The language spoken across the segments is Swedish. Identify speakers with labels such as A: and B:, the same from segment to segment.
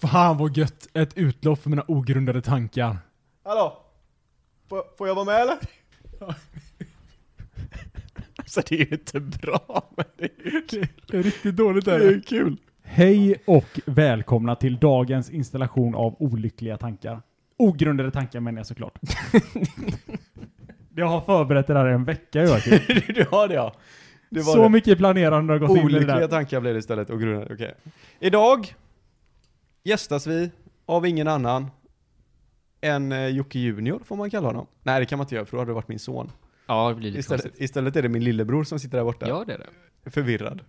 A: Fan vad gött! Ett utlopp för mina ogrundade tankar.
B: Hallå? Får, får jag vara med eller?
C: Alltså det är ju inte bra, men det är ju kul.
A: Det är riktigt dåligt
C: Det är ju kul.
D: Hej och välkomna till dagens installation av olyckliga tankar. Ogrundade tankar menar jag såklart. jag har förberett det här i en vecka Joakim.
C: Du har det ja. Det var
D: Så
C: det.
D: mycket planerande har gått in i det
C: Olyckliga
D: där.
C: tankar blev det istället och grundade, okej. Idag gästas vi av ingen annan än eh, Jocke Junior, får man kalla honom. Nej det kan man inte göra för då hade det varit min son.
E: Ja, det blir lite
C: Istället,
E: konstigt.
C: istället är det min lillebror som sitter där borta.
E: Ja, det är det.
C: Förvirrad.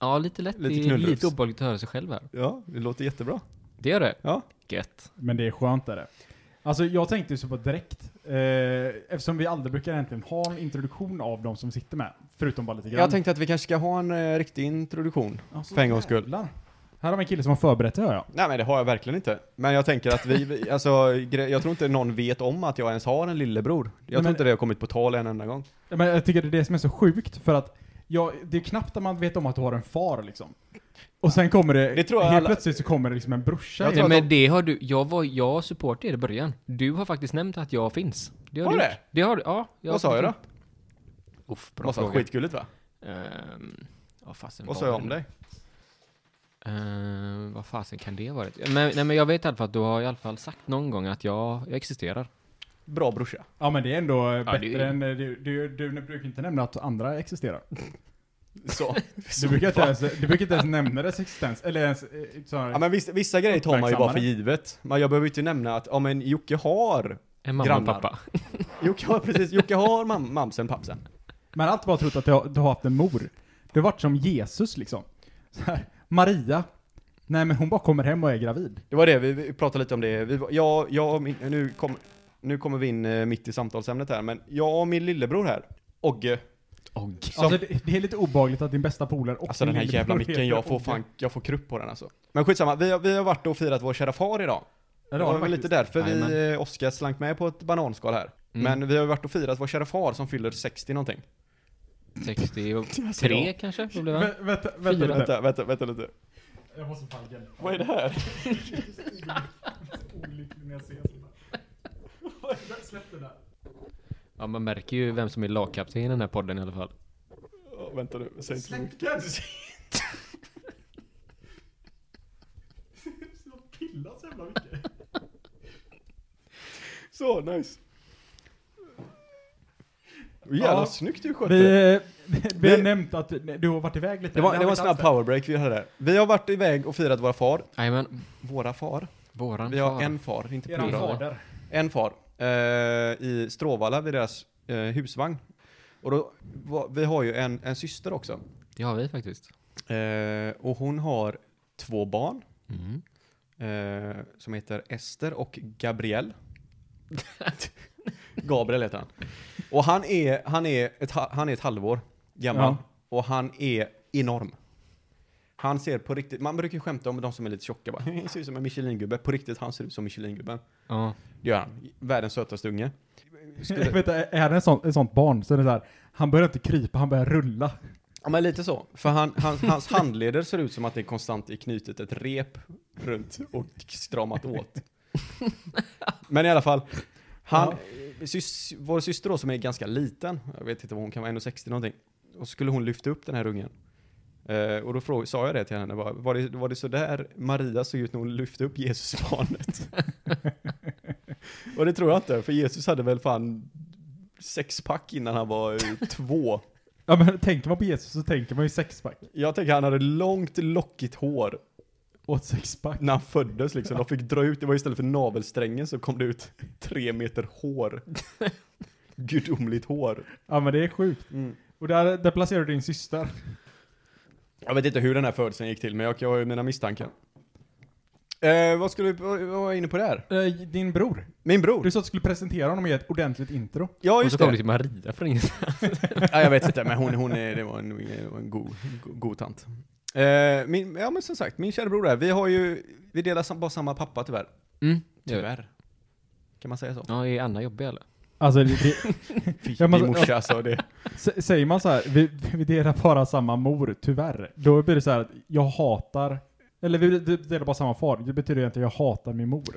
E: Ja, lite lätt.
C: Lite
E: det är
C: knullrufs.
E: lite obehagligt att höra sig själv här.
C: Ja, det låter jättebra.
E: Det gör det.
C: Ja.
E: Gött.
D: Men det är skönt är det. Alltså jag tänkte ju så på direkt, eh, eftersom vi aldrig brukar egentligen ha en introduktion av de som sitter med, förutom bara lite grann.
C: Jag tänkte att vi kanske ska ha en eh, riktig introduktion.
D: Alltså,
C: för en gångs skull.
D: jävlar. Här har vi en kille som har förberett det hör jag.
C: Nej men det har jag verkligen inte. Men jag tänker att vi- vi, alltså gre- jag tror inte någon vet om att jag ens har en lillebror. Jag
D: men-
C: tror inte det har kommit på tal en enda gång.
D: Ja, Men jag tycker det är det som är så sjukt, för att jag, det är knappt att man vet om att du har en far liksom. Och sen kommer det,
C: Det tror jag
D: helt
C: alla-
D: plötsligt så kommer det liksom en brorsa.
C: Jag
D: in.
C: tror att
E: men
C: de-
E: det har du, jag var, jag supportade er i början. Du har faktiskt nämnt att jag finns. Det har,
C: Har
E: du
C: det?
E: gjort. Det har du, ja.
C: Vad sa jag då?
E: Uff, bra
C: Måste vara
E: fråga.
C: skitgulligt va?
E: Ehm, vad fasen
C: Vad
E: var
C: sa jag
E: det
C: om
E: nu?
C: dig?
E: Ehm, vad fasen kan det vara? Men, nej, men jag vet i alla fall att du har i alla fall sagt någon gång att jag, jag existerar.
C: Bra brorsa.
D: Ja men det är ändå eh,
E: Ja,
D: bättre
E: det är-
D: än, eh, du, du, du brukar inte nämna att andra existerar.
C: Så.
D: Du brukar inte ens, du brukar inte ens nämna dess existens, eller ens eh, sådär.
C: Ja men vissa, vissa grejer tar man ju bara för
D: Uppmärksammare.
C: givet. Men jag behöver ju inte nämna att, ja men Jocke har,
E: En mamma
C: Grannar.
E: och pappa.
C: Jocke har precis, Jocke har mam, mamsen pappsen.
D: Man har alltid bara trott att du har, du har haft en mor. Du har varit som Jesus liksom. Så här, Maria. Nej men hon bara kommer hem och är gravid.
C: Det var det, vi, vi pratade lite om det. Vi, var- jag, jag och min, nu, kom, nu kommer vi in eh, mitt i samtalsämnet här, men jag och min lillebror här, Ogge.
E: Och.
C: Som,
D: Alltså det, det är lite obehagligt att din bästa polare och
C: alltså
D: din
C: den här
D: lillebror
C: jävla micken,
D: heter
C: jag får
D: Ogge.
C: fan, jag får krupp på den alltså. Men skitsamma, vi, har- vi har varit och firat vår kära far idag.
D: Ja,
C: Det var väl
D: faktiskt.
C: lite därför vi,
E: Jajamän.
C: eh, Oskar slank med på ett bananskal här.
E: Mm.
C: Men vi har ju varit och firat vår kära far som fyller 60 någonting. Alltså,
E: 63 kanske? Då blev han.
D: Vä- Vänta, vänta,
E: Fyra.
D: vänta.
C: Vänta, vänta, vänta lite.
D: Jag måste fan hjälpa.
C: Vad är det här?
D: Olycklig när jag ser sådär. Släpp det där.
E: Ja, man märker ju vem som är lagkapten i den här podden i alla fall.
C: Ja, vänta nu, säg inte
D: Släpp den! Jag pillar så jävla mycket.
C: Så, nice. Jävlar
D: Ja.
C: snyggt du skötte.
D: Vi, vi har
C: Vi-
D: nämnt att du har varit iväg lite.
C: det var,
D: har
C: det var en
D: inte
C: snabb
D: alls
C: powerbreak vi hade där. Vi har varit iväg och firat våra far.
E: Jajamän.
C: Våra far?
E: Våran
C: Vi har
E: far.
C: en far, inte
D: Eran
C: plural.
D: fader.
C: En far. Eh, I Stråvalla vid deras eh, husvagn. Och då, va, vi har ju en, en syster också.
E: Det har vi faktiskt.
C: Eh, och hon har två barn.
E: Mm.
C: eh, som heter Ester och Gabriel. Gabriel heter han. Och han är, han är, ett, ha- han är ett halvår gammal.
D: Ja.
C: Och han är enorm. Han ser på riktigt, man brukar ju skämta om de som är lite tjocka bara, "Han ser ut som en Michelingubbe. På riktigt, han ser ut som Michelingubben.
E: Ja.
C: Det gör han. Världens sötaste unge. Skulle-
D: Vänta, är det en sån, ett sånt barn så är det så här, han börjar inte krypa, han börjar rulla.
C: Ja men lite så. För han, hans, hans handleder ser ut som att det konstant är knutet ett rep runt och stramat åt. Men i alla fall. Han, sys, vår syster då som är ganska liten, jag vet inte vad hon kan vara, 1,60 någonting. Och så skulle hon lyfta upp den här ungen. Eh, och då frå, sa jag det till henne, bara, var, det, var det så där Maria såg ut när hon lyfte upp Jesusbarnet? och det tror jag inte, för Jesus hade väl fan sexpack innan han var eh, två.
D: Ja men tänker man på Jesus så tänker man ju sexpack.
C: Jag tänker han hade långt lockigt hår
D: Och ett sexpack.
C: när han föddes liksom. De fick dra ut, det var istället för navelsträngen så kom det ut tre meter hår. Gudomligt hår. Mm.
D: Ja men det är sjukt. Och där, där placerar du din syster.
C: Jag vet inte hur den här födelsen gick till men jag, jag har ju mina misstankar. Eh, vad skulle vi, vad vad var jag inne på där?
D: Eh, Din bror.
C: Min bror?
D: Du sa att du skulle presentera honom i ett ordentligt intro.
C: Ja
E: och så
C: just
E: kom det
C: det.
E: till Maria från ingenstans.
C: ja, jag vet inte men hon, hon är, det var en, det var en god, god, god tant. Eh, min, ja men som sagt, min kära bror där, vi har ju, vi delar sam, bara samma pappa tyvärr.
E: Mm. det gör vi.
C: Tyvärr. Kan man säga så?
E: Ja, är Anna jobbig eller?
D: Alltså det, det,
C: Fy,
D: Ja, men-
C: din morsa alltså, det.
D: S- Säger man så här, vi, vi delar bara samma mor, tyvärr. Då blir det så här att jag hatar Eller vi vi delar bara samma far. Det betyder ju inte att jag hatar min mor.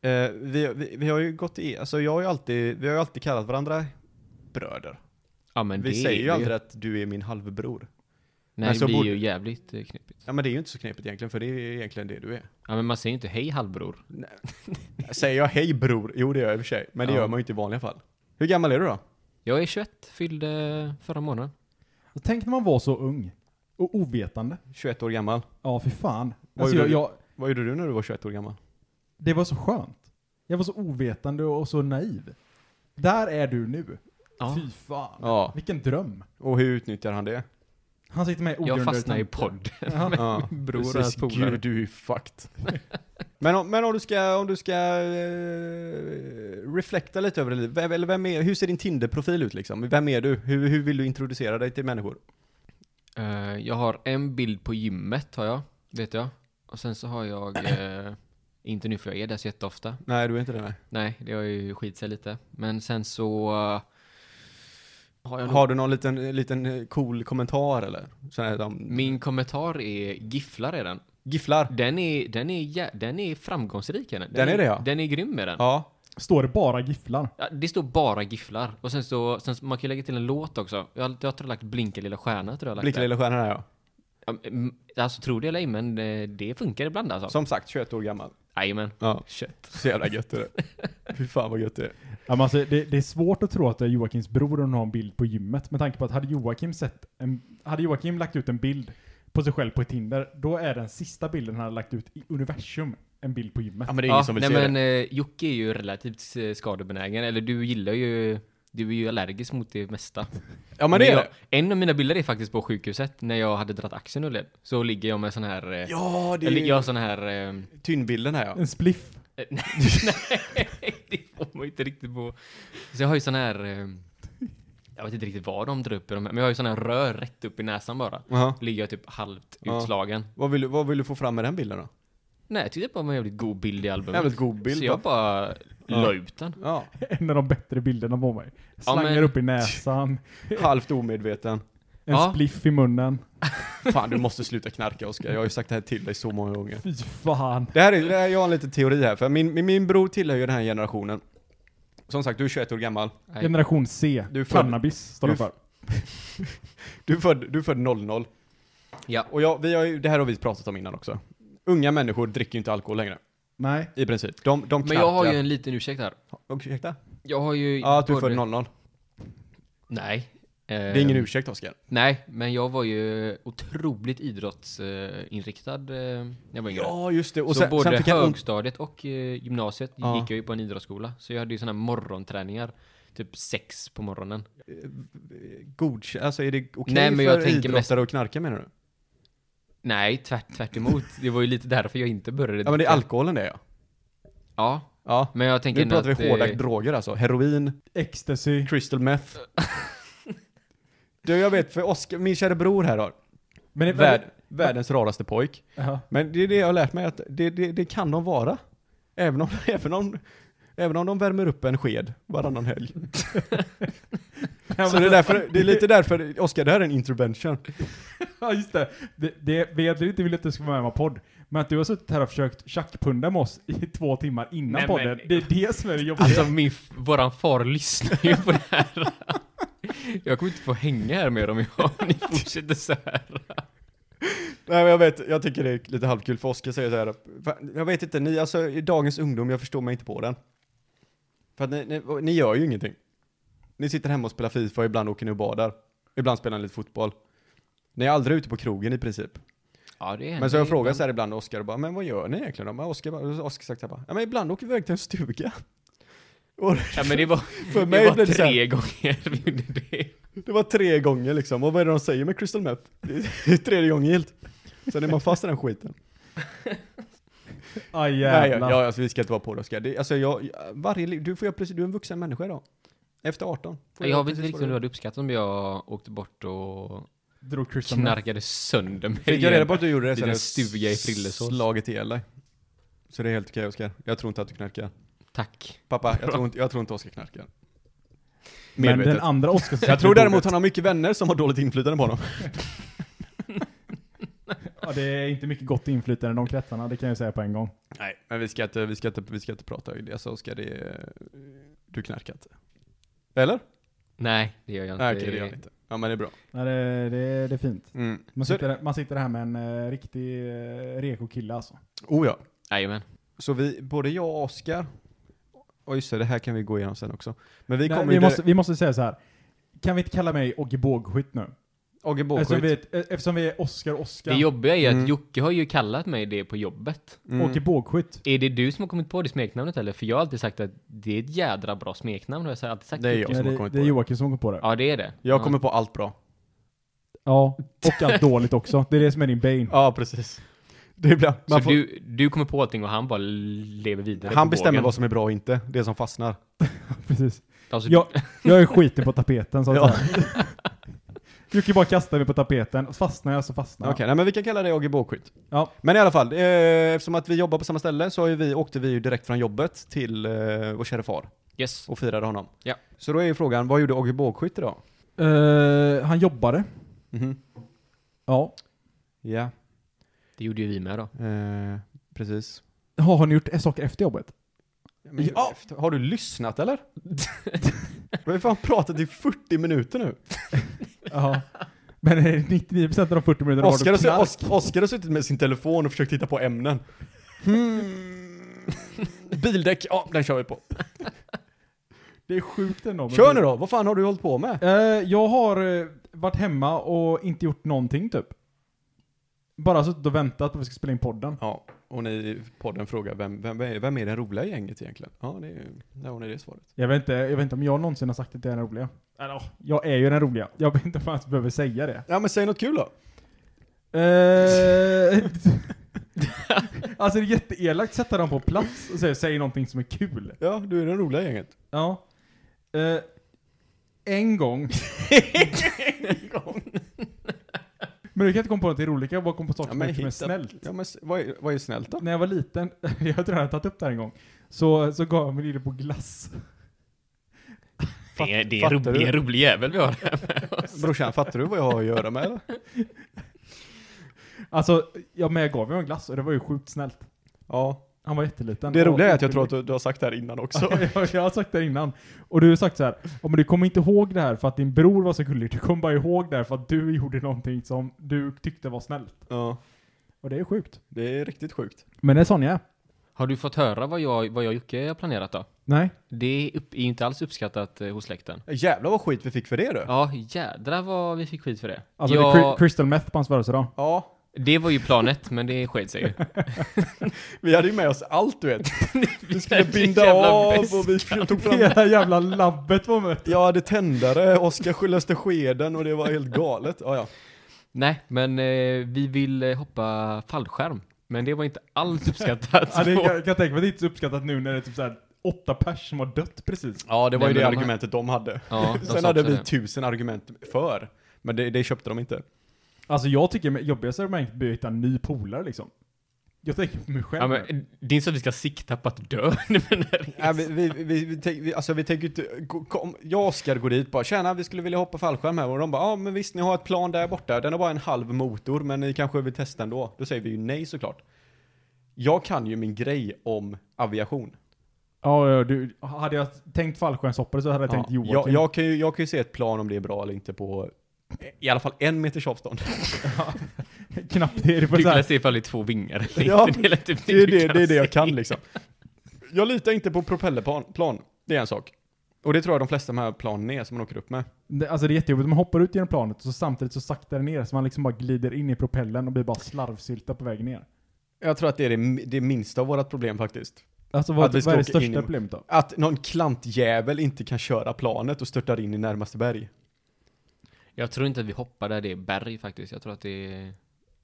C: Eh, vi, vi, vi har ju gått i, alltså jag har ju alltid, vi har ju alltid kallat varandra bröder.
E: Ja, men
C: vi
E: det
C: säger ju
E: det-
C: aldrig att du är min halvbror.
E: Nej,
C: men
E: det
C: så
E: blir
C: borde-
E: ju jävligt eh, knepigt.
C: Ja men det är ju inte så knepigt egentligen, för det är ju egentligen det du är.
E: Ja, men man säger ju inte hej halvbror.
C: Säger jag hej bror? Jo det gör jag i och för sig, men det
E: Ja.
C: gör man ju inte i vanliga fall. Hur gammal är du då?
E: Jag är 21, fyllde eh, förra månaden.
D: Och tänk när man var så ung. Och ovetande.
C: 21 år gammal.
D: Ja, fy fan.
C: Vad
D: Alltså,
C: gjorde
D: jag,
C: du?
D: jag,
C: Vad gjorde du när du var 21 år gammal?
D: det var så skönt. Jag var så ovetande och så naiv. Där är du nu.
E: Ja.
D: Fy fan.
C: Ja,
D: Vilken dröm.
C: och hur utnyttjar han det?
D: Han sitter med
E: Jag
D: ogrundade
E: fastnar i
D: tankar.
E: podd.
D: Ja.
C: Ja.
E: Bror och hans
C: Precis,
E: polare.
C: gud du är ju fucked. men, om, men om du ska, om du ska eh, reflekta lite över det, vem, eller vem är, hur ser din Tinder-profil ut liksom? Vem är du? Hur, hur vill du introducera dig till människor?
E: Eh, jag har en bild på gymmet har jag, vet jag. Och sen så har jag, eh, inte nu för jag är där så jätteofta.
C: Nej, du är inte det nej.
E: Nej, det har ju skit sig lite. Men sen så... eh, har jag nog-
C: Har du någon liten, liten eh, cool kommentar eller? Sån här, de,
E: Min kommentar är gifflar är den.
C: gifflar?
E: Den är, den är, jä- den är framgångsrik. är Den,
C: Den är det, ja.
E: Den är grym med den.
C: Ja.
D: Står det bara gifflar?
E: Ja, det står bara gifflar. Och sen så, sen så man kan ju lägga till en låt också. Jag, har- jag tror jag har lagt Blinka lilla stjärna. Tror jag har lagt
C: Blinka
E: där.
C: lilla stjärnan här ja.
E: Ja, mm, alltså tro det eller ej, men eh, det funkar ibland alltså.
C: Som sagt, 21 år gammal.
E: Jajamän.
C: Ja.
E: Kött.
C: Så jävla gött är det. Fy fan vad gött det är.
D: Ja, men alltså, det, det är svårt att tro att det är Joakims bror om har en bild på gymmet. Med tanke på att hade Joakim, sett en, hade Joakim lagt ut en bild på sig själv på Tinder, då är den sista bilden han har lagt ut i universum en bild på gymmet.
C: Ja men det är ingen
E: Ja,
C: som vill
E: nej
C: se
E: men
C: det.
E: eh, Jocke är ju relativt eh, skadebenägen. Eller du gillar ju... Du är ju allergisk mot det mesta.
C: Ja men det är
E: jag,
C: det.
E: En av mina bilder är faktiskt på sjukhuset när jag hade dragit axeln ur led. Så ligger jag med sån här... eh,
C: Ja, det är
E: Eller jag har sån här... eh,
C: tynnbilden här ja.
D: En spliff.
E: eh, nej, det får man ju inte riktigt på. Så jag har ju sån här... eh, Jag vet inte riktigt vad de drar upp i de här, men jag har ju sån här rör rätt upp i näsan bara.
C: Jaha.
E: Ligger jag typ halvt
C: Ja.
E: utslagen.
C: Vad vill, du- vad vill du få fram med den bilden då?
E: Nej, jag tyckte bara det var en jävligt god bild i albumet.
C: Jävligt god bild.
E: Så jag bara la ut den.
C: Ja,
D: En av de bättre bilderna på mig. Slangar
E: men-
D: upp i näsan,
C: halvt omedveten.
D: en
E: Ja.
D: spliff i munnen.
C: Fan, du måste sluta knarka Oskar. Jag har ju sagt det här till dig så många gånger.
D: Fy fan.
C: Det här är, det här, jag har en liten teori här, för min, min, min bror tillhör ju den här generationen. Som sagt, du är 21 år gammal.
E: Nej.
D: Generation C.
C: Du är född-
D: Cannabis står
C: du
D: det för.
C: Du är född, du är född 00.
E: Ja.
C: Och jag, vi har ju, det här har vi pratat om innan också. Unga människor dricker ju inte alkohol längre.
D: Nej.
C: I princip. De, de
E: Men jag har ju
C: knarkar.
E: en liten ursäkt här.
C: Ursäkta?
E: Jag har ju...
C: Ja, att du är
E: både-
C: född 00.
E: Nej. Eh,
C: Det är ingen ursäkt Oskar.
E: Nej, men jag var ju otroligt idrottsinriktad eh, när jag var yngre.
C: Ja, just det.
E: och
C: Och
E: så
C: sen,
E: både
C: sen fick jag... un-
E: högstadiet och eh, gymnasiet
C: Ja.
E: gick jag ju på en idrottsskola. Så jag hade ju sådana här morgonträningar. Typ sex på morgonen.
C: Godkänd? Alltså är det okej
E: Nej, men jag
C: för
E: tänker
C: idrottare
E: mest-
C: att knarka menar du?
E: Nej, tvärt, tvärt emot. Det var ju lite därför jag inte började.
C: Ja men det är
E: dricka.
C: alkoholen det ja.
E: Ja,
C: Ja.
E: men jag tänker
C: Nu
E: ändå
C: pratar
E: att,
C: vi hårda
E: eh,
C: droger alltså. Heroin,
D: Ecstasy.
C: crystal meth. du jag vet, för Oskar, min kära bror här har.
D: Men det,
C: Värld, världens raraste pojk.
D: Ja.
C: Men det är det jag har lärt mig att det, det, det kan de vara. Även om, även, om, även om de värmer upp en sked varannan helg. Så det är, därför, det är lite därför, Oskar det här är en intervention.
D: Ja just det. det, det vi egentligen inte ville att du skulle vara med på podd. Men att du har suttit här och försökt tjackpunda med oss i två timmar innan
E: Nej, men-
D: podden. Det är det som är det jobbiga.
E: Alltså min, f- våran far lyssnar ju på det här. Jag kommer inte få hänga här med dem om jag- om ni fortsätter så här.
C: Nej men jag vet, jag tycker det är lite halvkul för Oskar säger så här. "Fan, Jag vet inte, ni, alltså i dagens ungdom, jag förstår mig inte på den. För att ni, ni, ni gör ju ingenting. Ni sitter hemma och spelar Fifa, ibland åker ni och badar. Ibland spelar ni lite fotboll. Ni är aldrig ute på krogen i princip.
E: Ja, det är
C: Men så har jag frågat så här ibland Oskar och bara, men vad gör ni egentligen då? Men Oskar bara- Oskar sagt så här bara, ja men ibland åker vi iväg till en stuga. Och
E: Ja, men det var,
C: för
E: det
C: mig
E: var
C: blev det så här,
E: tre gånger vi gjorde det.
C: det var tre gånger liksom. Och vad är det de säger med crystal meth? Det är tredje gången helt. Sen är man fast i den skiten.
D: Aj
C: Nej,
D: jävlar.
C: ja, ja, alltså, vi ska inte vara på det Oskar. Det- Alltså, jag, varje, li- du får göra precis, du är en vuxen människa idag. Efter 18. Får
E: Jag
C: göra
E: vet inte
C: precis
E: riktigt
C: vad
E: om
C: du
E: du
C: vill.
E: hade uppskattat om jag åkte bort och
D: Drog crystal meth.
E: knarkade sönder mig.
C: Fick jag reda på att du gjorde det så
E: Liten
C: hade jag
E: stuga i Frillesås.
C: Slagit ihjäl dig. Så det är helt okej Oskar. Jag tror inte att du knarkar.
E: Tack.
C: Pappa, jag tror inte, jag tror inte Oskar knarkar.
D: Men
C: Medvetet.
D: den andra Oskar
C: jag tror däremot han har mycket vänner som har dåligt inflytande på honom.
D: Ja, det är inte mycket gott inflytande i de kretsarna, det kan jag säga på en gång.
C: Nej, men vi ska inte, vi ska inte, vi ska inte prata om det, så ska det... eh, Du knarkar inte. Eller?
E: Nej, det gör jag inte.
C: Nej, okej, det gör jag inte. Ja, men det är bra.
D: Nej, det, det, det är fint.
C: Mm.
D: Man
C: Så,
D: sitter, man sitter här med en eh, riktig eh, reko kille alltså.
C: oh ja.
E: Jajamän.
C: Så vi, både jag och Oskar, och just det, det här kan vi gå igenom sen också. Men vi
D: Nej,
C: kommer
D: vi,
C: ju...
D: måste, vi måste säga så här. Kan vi inte kalla mig Ogge Bågskytt nu?
C: Ogge
D: Eftersom
C: Bågskytt.
D: vi, är ett- eh, eftersom vi är Oscar Oscar.
E: Det jobbiga är ju att
C: Mm.
E: Jocke har ju kallat mig det på jobbet.
C: Mm.
D: Åke Bågskytt.
E: Är det du som har kommit på det smeknamnet eller? För jag har alltid sagt att det är ett jädra bra smeknamn och jag har alltid sagt
C: Det är jag
E: Jocke.
D: Nej,
C: som har
D: det,
C: kommit
D: det
C: på
D: är
C: det.
D: Joakim som kom på det.
E: Ja, det är det.
C: Jag kommer på allt bra.
D: Ja, och allt dåligt också. Det är det som är din bane.
C: Ja, precis. Det är ibland.
E: ja.
C: Man
E: Så
C: får,
E: du, du kommer på allting och han bara lever vidare
C: han
E: på
C: bestämmer
E: vågen.
C: vad som är bra och inte. Det som fastnar.
D: Precis.
E: Alltså,
D: Jag, jag är skiten på tapeten så att
C: Ja.
D: säga. Jocke bara kastar mig på tapeten. Fastnar jag så fastnar
C: Okej,
D: jag.
C: nej men vi kan kalla det Ogge Bågskytt.
D: Ja.
C: Men i alla fall, eh, eftersom att vi jobbar på samma ställe så har ju vi, åkte vi ju direkt från jobbet till eh, vår kära far
E: Yes.
C: och firade honom.
E: Ja.
C: Så då är ju frågan, vad gjorde Ogge Bågskytt idag?
D: Eh, han jobbade.
C: Mhm.
D: Ja.
C: Ja,
E: Det gjorde ju vi med då.
C: eh, precis.
D: Ha, har ni gjort saker efter jobbet?
C: Men, ja. Har du lyssnat eller? Vi har ju fan pratat i 40 minuter nu.
D: Ja. Men eh, 99% av de 40 minuterna har
C: Oskar
D: du
C: har,
D: knark.
C: Os- Oskar har suttit med sin telefon och försökt hitta på ämnen. Hmm. Bildäck, ja den kör vi på.
D: Det är sjukt ändå. men-
C: Kör nu då, vad fan har du hållit på med?
D: Eh, jag har eh, varit hemma och inte gjort någonting typ. Bara suttit och väntat på att vi ska spela in podden.
C: Ja, och ni i podden frågar vem, vem, är- vem är den roliga i gänget egentligen? Ja, det är ju, ja, hon är det svaret.
D: Jag vet inte, jag vet inte om jag någonsin har sagt att jag är den roliga. Eller ja, jag är ju den roliga. Jag vet inte om jag ens behöver säga det.
C: Ja men säg något kul då!
D: Eh, alltså det är jätteelakt att sätta dem på plats och säga säg någonting som är kul.
C: Ja, du är den roliga i gänget.
D: Ja. Eh, en gång. Men du kan inte komma på något roligt, jag bara kom på saker
C: Ja,
D: som
C: men
D: är som är
C: hitta-
D: snällt.
C: Ja men s- vad är, vad är snällt då?
D: När jag var liten, jag tror jag har tagit upp det här en gång, så, så gav jag min lille på glass.
E: Det är, det är,
C: fattar
E: ro-
C: du?
E: det är en rolig jävel vi har.
C: Brorsan, fattar du vad jag har att göra med eller?
D: Alltså, ja, men jag gav honom en glass och det var ju sjukt snällt.
C: Ja.
D: Han var jätteliten.
C: Det
D: Och-
C: roliga är att jag tror att du, du har sagt det här innan också.
D: jag, jag har sagt det här innan. Och du har sagt så här, "Ja, men du kommer inte ihåg det här för att din bror var så gullig, du kommer bara ihåg det här för att du gjorde någonting som du tyckte var snällt.
C: Ja,
D: Och det är sjukt.
C: det är riktigt sjukt.
D: Men det är sån jag är.
E: Har du fått höra vad jag, vad jag och Jocke har planerat då?
D: Nej.
E: Det är, upp, är ju inte alls uppskattat eh, hos släkten.
C: Jävlar vad skit vi fick för det du!
E: Ja, jädra vad vi fick skit för det.
D: Alltså
E: ja,
D: det är cri- crystal meth på hans födelsedag.
C: Ja,
E: det var ju planet, men det sket sig ju.
C: vi hade ju med oss allt du vet. Vi skulle
E: hade ju
C: binda
E: jävla
C: av
E: väska.
C: och vi tog fram...
D: Hela jävla labbet var med.
C: Jag hade tändare, Oskar löste skeden och det var helt galet. Ja, ja.
E: Nej, men eh, vi vill eh, hoppa fallskärm. Men det var inte alls uppskattat.
D: Ja, det
E: på-
D: kan, kan jag tänka mig att det inte är så uppskattat nu när det är typ så här åtta pers som har dött precis.
C: Ja, det var
E: Nej,
C: ju det
E: men de-
C: argumentet de hade.
E: Ja, de
C: Sen
E: sa
C: hade
E: också
C: vi typ-
E: det.
C: tusen argument för, men det, det köpte de inte.
D: Alltså jag tycker det jobbigaste med att börja hitta en ny polare liksom. Jag tänker på mig själv.
E: Ja, men, eh, det är inte så att vi ska sikta på att dö. men,
C: Nej, vi, vi, vi, vi, tänk- vi, alltså, vi tänker ju inte, gå- kom, jag och Oskar går dit bara, tjena vi skulle vilja hoppa fallskärm här och de bara, ja men visst ni har ett plan där borta, den har bara en halv motor men ni kanske vill testa ändå. Då säger vi ju nej såklart. Jag kan ju min grej om aviation.
D: ja, ja, du, hade jag tänkt fallskärmshoppare så hade jag tänkt
C: Ja,
D: Joakim.
C: jag, jag, kan ju, jag kan ju se ett plan om det är bra eller inte på i alla fall en meters avstånd.
D: Knappt det. det var
E: du
D: så här,
E: kan se ifall det är två vingar.
C: Ja,
E: det, är typ
C: Det är
E: du
C: det, det, är det jag
E: se.
C: kan liksom. Jag litar inte på propellerplan, plan. det är en sak. Och det tror jag de flesta av de här planen är som man åker upp med.
D: det, alltså det är jättejobbigt. Man hoppar ut genom planet och så samtidigt så saktar det ner så man liksom bara glider in i propellen och blir bara slarvsylta på vägen ner.
C: Jag tror att det är det, det minsta av vårat problem faktiskt.
D: Alltså vad,
C: Att vi ska
D: vad är det
C: åka in i-
D: största problemet då?
C: Att någon klantjävel inte kan köra planet och störtar in i närmaste berg.
E: Jag tror inte att vi hoppar där det är berg faktiskt. Jag tror att det är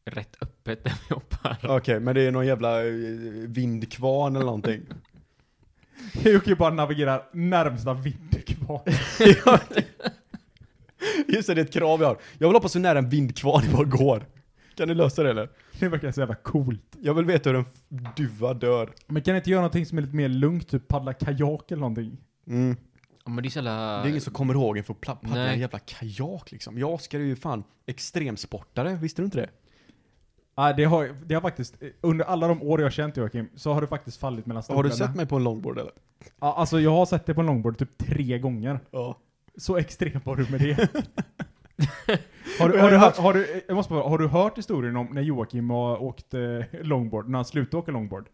E: rätt öppet där vi hoppar.
C: Okej, men det är någon jävla eh, vindkvarn eller någonting.
D: Jocke bara navigerar närmsta vinterkvarn.
C: Just det, det är ett krav jag har. Jag vill hoppa så nära en vindkvarn det bara går. Kan ni lösa det eller?
D: Det verkar så jävla coolt.
C: Jag vill veta hur en f- duva dör.
D: Men kan ni inte göra någonting som är lite mer lugnt? Typ paddla kajak eller någonting?
C: Mm.
E: Ja, men det är så jävla...
C: Det är ingen som kommer ihåg en för att pla- paddla
E: Nej.
C: en jävla kajak liksom. Jag och Oskar är ju fan extremsportare, visste du inte det?
D: Nej, det, har, det har faktiskt, under alla de år jag har känt Joakim, så har det faktiskt fallit mellan stolarna.
C: Har du sett mig på en longboard eller?
D: Ja, alltså jag har sett det på en longboard typ tre gånger.
C: Ja.
D: Så extrem var du med det. har, du,
C: Jag
D: har,
C: har
D: du,
C: haft-
D: har, du, jag måste bara, har du hört historien om när Joakim har åkt eh, longboard, när han slutade åka longboard?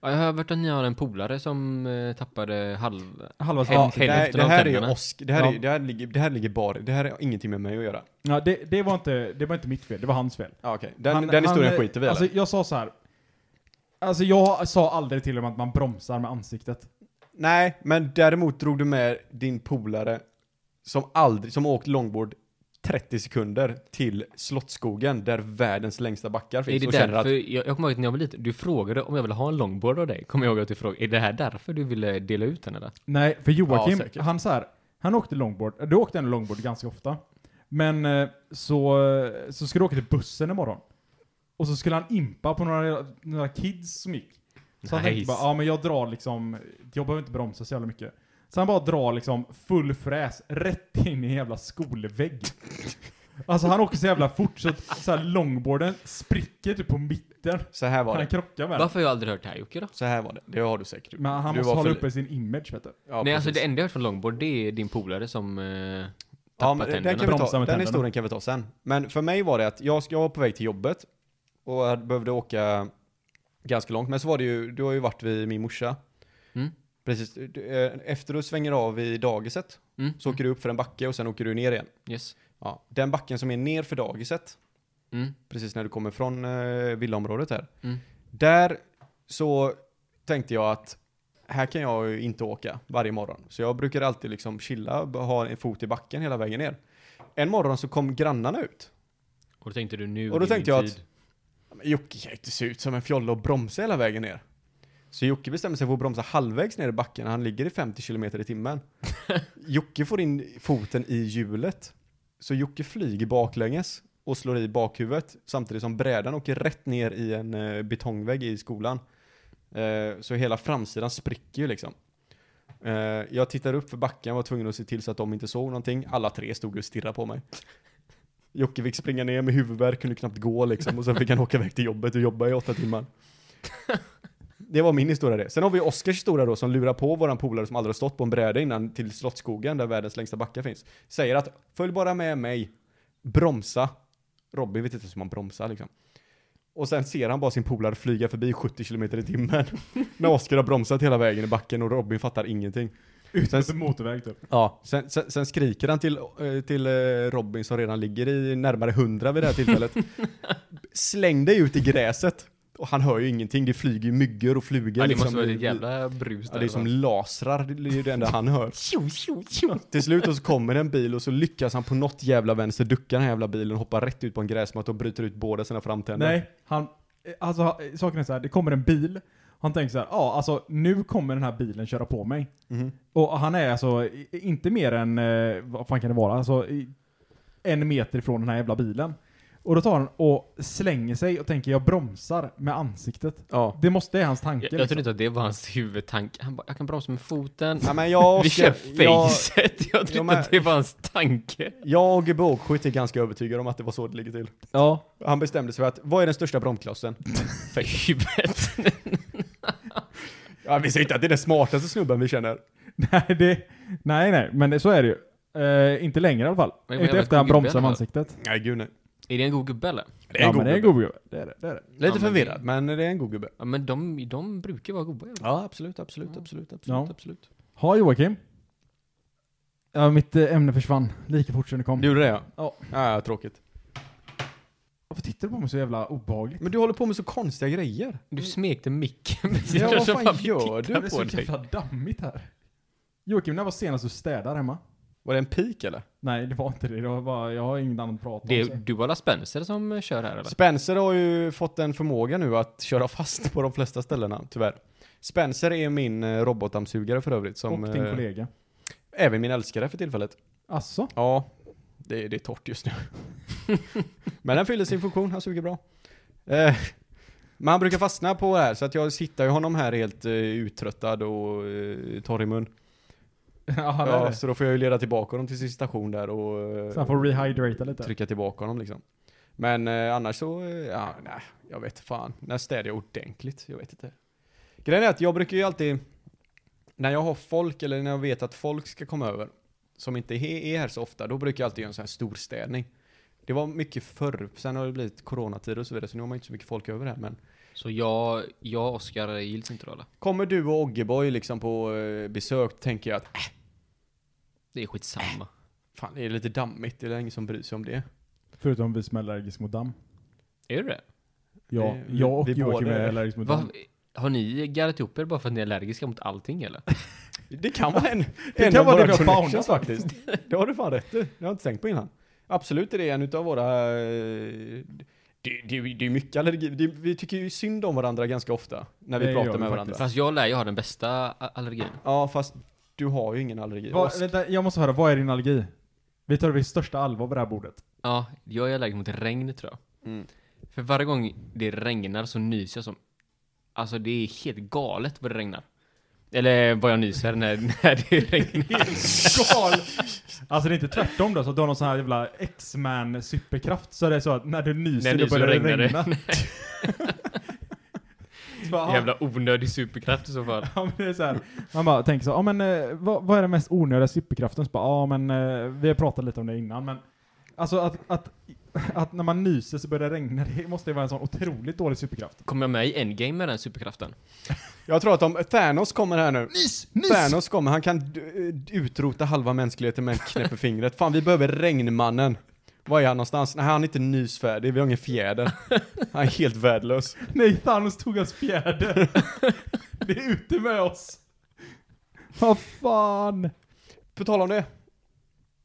E: Ja, jag har hört att ni har en polare som eh, tappade halv...
D: Halva
E: Hem-
D: ja.
E: hem-
C: det, här,
E: Hälften
C: det
E: av
C: här är ju
E: tänderna.
C: osk. Det här, är,
D: Ja.
C: det, här ligger, det här ligger bara, det här har ingenting med mig att göra.
D: ja, det, det, var inte, det var inte mitt fel, det var hans fel.
C: Ja, okej. Den,
D: Han-
C: den historien
D: han, eh,
C: skiter vi i
D: Alltså
C: eller?
D: jag sa så här. Alltså jag sa aldrig till honom att man bromsar med ansiktet.
C: Nej, men däremot drog du med din polare som aldrig, som har åkt longboard 30 sekunder till Slottsskogen där världens längsta backar
E: Är
C: finns.
E: det
C: och känner
E: därför,
C: att
E: jag, jag kommer ihåg att när jag var liten, du frågade om jag ville ha en longboard av dig. Kommer jag ihåg att du frågade, är det här därför du ville dela ut den eller?
D: Nej, för Joakim,
C: Ja, säkert.
D: han så här, han åkte longboard, du åkte en longboard ganska ofta. Men eh, så, eh, så skulle du åka till bussen imorgon. Och så skulle han impa på några, några kids som gick. Så han tänkte
E: Nice.
D: bara, ja men jag drar liksom, jag behöver inte bromsa så jävla mycket. Så han bara drar liksom full fräs rätt in i en jävla skolvägg. Alltså han åker så jävla fort så att så här, longboarden spricker typ på mitten.
C: så här var
D: Han
C: det.
D: krockar med den.
E: Varför har jag aldrig hört det här Jocke då?
C: Så här var det. Det har du säkert gjort.
D: Men han
C: du
D: måste
C: var
D: hålla
C: för-
D: uppe sin image vet du.
C: Ja,
E: Nej alltså
C: precis.
E: det enda jag hört från longboard det är din polare som eh,
C: Ja,
E: tappade
C: men den,
E: tänderna.
C: kan vi ta,
D: Bromsa
C: den
D: med tänderna.
C: historien kan vi ta sen. Men för mig var det att jag, jag var på väg till jobbet och jag behövde åka ganska långt. Men så var det ju, du har ju varit vid min morsa.
E: Mm.
C: Precis, du, eh, efter du svänger av i dagiset
E: Mm.
C: så åker du upp för en backe och sen åker du ner igen.
E: Yes.
C: Ja, den backen som är ner för dagiset,
E: Mm.
C: precis när du kommer från eh, villaområdet här.
E: Mm.
C: Där så tänkte jag att här kan jag ju inte åka varje morgon. Så jag brukar alltid liksom chilla, b- ha en fot i backen hela vägen ner. En morgon så kom grannarna ut.
E: Och då tänkte du nu
C: Och då
E: är min
C: tänkte jag
E: tid.
C: att- Men Jocke kan ju inte se ut som en fjolla och bromsa hela vägen ner. Så Jocke bestämmer sig för att bromsa halvvägs ner i backen när han ligger i 50 km i timmen. Jocke får in foten i hjulet. Så Jocke flyger baklänges och slår i bakhuvudet samtidigt som brädan åker rätt ner i en eh, betongvägg i skolan. Eh, så hela framsidan spricker ju liksom. Eh, jag tittar upp för backen, var tvungen att se till så att de inte såg någonting. Alla tre stod och stirrade på mig. Jocke fick springa ner med huvudvärk, kunde knappt gå liksom. Och sen fick han åka iväg till jobbet och jobba i åtta timmar. Det var min historia det. Sen har vi Oskars historia då som lurar på våran polare som aldrig har stått på en bräda innan till Slottsskogen där världens längsta backar finns. Säger att följ bara med mig, bromsa. Robin vet inte ens hur man bromsar liksom. Och sen ser han bara sin polare flyga förbi 70 km i timmen. när Oskar har bromsat hela vägen i backen och Robin fattar ingenting.
D: Utan
C: Sen-
D: motorväg typ.
C: Ja, sen, sen, sen skriker han till, eh, till eh, Robin som redan ligger i närmare hundra vid det här tillfället. Släng dig ut i gräset. Och han hör ju ingenting, det flyger ju myggor och flugor.
E: Ja, det
C: liksom
E: måste vara
C: i-
E: ett jävla brus
C: Ja,
E: där.
C: det är som lasrar, det är ju det enda han hör. Till slut och så kommer det en bil och så lyckas han på något jävla vänster ducka den här jävla bilen och hoppar rätt ut på en gräsmatta och bryter ut båda sina framtänder.
D: Nej, han, eh, alltså ha- saken är så här, det kommer en bil. Han tänker så här, ja alltså nu kommer den här bilen köra på mig.
C: Mhm.
D: Och han är alltså i- inte mer än, eh, vad fan kan det vara, alltså i- en meter ifrån den här jävla bilen. Och då tar han och slänger sig och tänker jag bromsar med ansiktet.
C: Ja.
D: Det måste, det är hans tanke. liksom.
E: Jag,
C: liksom-
E: jag trodde inte att det var hans huvudtanke. Han bara, jag kan bromsa med foten.
C: ja men jag och
E: Vi kör
C: Oskar, jag,
E: facet. Jag trodde
C: jag
E: inte
C: med.
E: att det var hans tanke.
C: jag och Gubbe Åkskytt är ganska övertygade om att det var så det ligger till.
D: Ja.
C: Han bestämde sig för att, vad är den största bromsklossen?
E: Huvudet.
C: Ja, vi säger inte att det är den smartaste snubben vi känner.
D: Nej, det, nej, nej, men det, så är det ju. Eh, inte längre i alla fall.
E: Men
D: inte
E: jävla
D: efter han
E: gubbe
D: bromsar
E: eller?
D: med ansiktet.
C: Nej, gud nej.
E: Är det en god gubbe eller?
C: Det
D: ja, men det är en god gubbe. Det är det, det är det.
C: Lite
E: Ja, men
C: förvirrad, men det är en god gubbe.
E: Ja, men de, de brukar vara goda. Ja.
C: Ja, absolut, absolut, absolut, absolut,
D: Ja.
C: absolut.
D: Ha Joakim. Ja, mitt eh, ämne försvann lika fort som det kom.
C: Du gjorde det ja?
D: Ja.
C: Ja, tråkigt.
D: Varför tittar du på mig så jävla obehagligt?
C: Men du håller på med så konstiga grejer.
E: Du smekte micken.
C: Ja, vad
E: Så
C: fan
E: vi
C: gör
E: tittar
C: du?
D: Det är så
E: på dig.
D: jävla dammigt här. Joakim, när var senast du städade hemma?
C: Var det en pik eller?
D: Nej, det var inte det. det var bara, jag har inget annat att prata
E: Det är
D: om.
E: du alla Spencer som eh, kör här eller?
C: Spencer har ju fått en förmåga nu att köra fast på de flesta ställena, tyvärr. Spencer är min eh, robotdammsugare för övrigt.
D: Som,
C: Som,
D: och din
C: eh,
D: kollega.
C: Även min älskare för tillfället.
D: Asså?
C: Ja, det, det är torrt just nu. men den fyller sin funktion, han suger bra. Eh, men han brukar fastna på det här, så att jag hittar ju honom här helt eh, uttröttad och eh, torr i mun.
D: ja, han är
C: Ja,
D: det.
C: så då får jag ju leda tillbaka honom till sin station där och eh,
D: Så han får rehydrata lite.
C: trycka tillbaka honom liksom. Men eh, annars så, eh, ja, nej, jag vet fan. När städar jag ordentligt? Jag vet inte. Grejen är att jag brukar ju alltid, när jag har folk eller när jag vet att folk ska komma över, som inte he- är här så ofta, då brukar jag alltid göra en sån här storstädning. Det var mycket förr, sen har det blivit coronatider och så vidare, så nu har man inte så mycket folk över här, men
E: Så jag, jag och Oskar gills inte då eller?
C: Kommer du och Oggeboy liksom på eh, besök tänker jag att äh,
E: Det är skitsamma.
C: fan det är lite dammigt, det är ingen som bryr sig om det.
D: Förutom vi som är allergiska mot damm.
E: Är det
D: Ja,
C: Eh, vi-
D: jag och
C: vi
D: Joakim
C: båda
D: är
C: är-
D: allergiska
E: det?
D: mot
E: Va,
D: damm.
E: har ni garrat ihop er bara för att ni är allergiska mot allting eller?
C: Det kan vara en,
D: Det
C: en
D: kan
C: av
D: vara
C: våra
D: det vi har
C: connections
D: boundat.
C: faktiskt. Det har du fan rätt i, det har jag inte tänkt på innan. Absolut är det en utav våra, eh, det, det, det är mycket allergi, det, vi tycker ju synd om varandra ganska ofta när vi
D: Det gör
C: pratar
D: vi
C: med varandra.
D: faktiskt.
E: Fast jag lär ju ha den bästa a- allergin.
C: Ja fast du har ju ingen allergi.
D: Va,
C: Oskar.
D: vänta, jag måste höra, vad är din allergi? Vi tar det i största allvar på det här bordet.
E: Ja, jag är allergisk mot regn tror jag.
C: Mm.
E: För varje gång det regnar så nyser jag som... Alltså det är helt galet vad det regnar. Eller vad jag nyser när, när det regnar.
D: Gal! Alltså det är inte tvärtom då, så att du har någon sån här jävla X-Man superkraft så det är så att när du nyser,
E: När
D: då
E: det
D: börjar
E: så
D: det
E: regnar det.
D: regna. Så bara, aha.
E: Jävla onödig superkraft i så fall.
D: Ja, men det är så här. Man bara tänker så, ja men eh, vad, vad är den mest onödiga superkraften? Så bara, ja men eh, vi har pratat lite om det innan men Alltså att, att, att när man nyser så börjar det regna, det måste ju vara en sån otroligt dålig superkraft.
E: Kommer jag med i Endgame med den superkraften?
C: Jag tror att om Thanos kommer här nu. Thanos kommer, han kan d- eh, utrota halva mänskligheten med en knäpp i fingret. Fan, vi behöver regnmannen. Var är han någonstans? Nej, han är inte nysfärdig, vi har ingen fjäder. Han är helt värdelös.
D: Nej, Thanos tog hans fjärde. det är ute med oss. Vad fan.
C: På tal om det.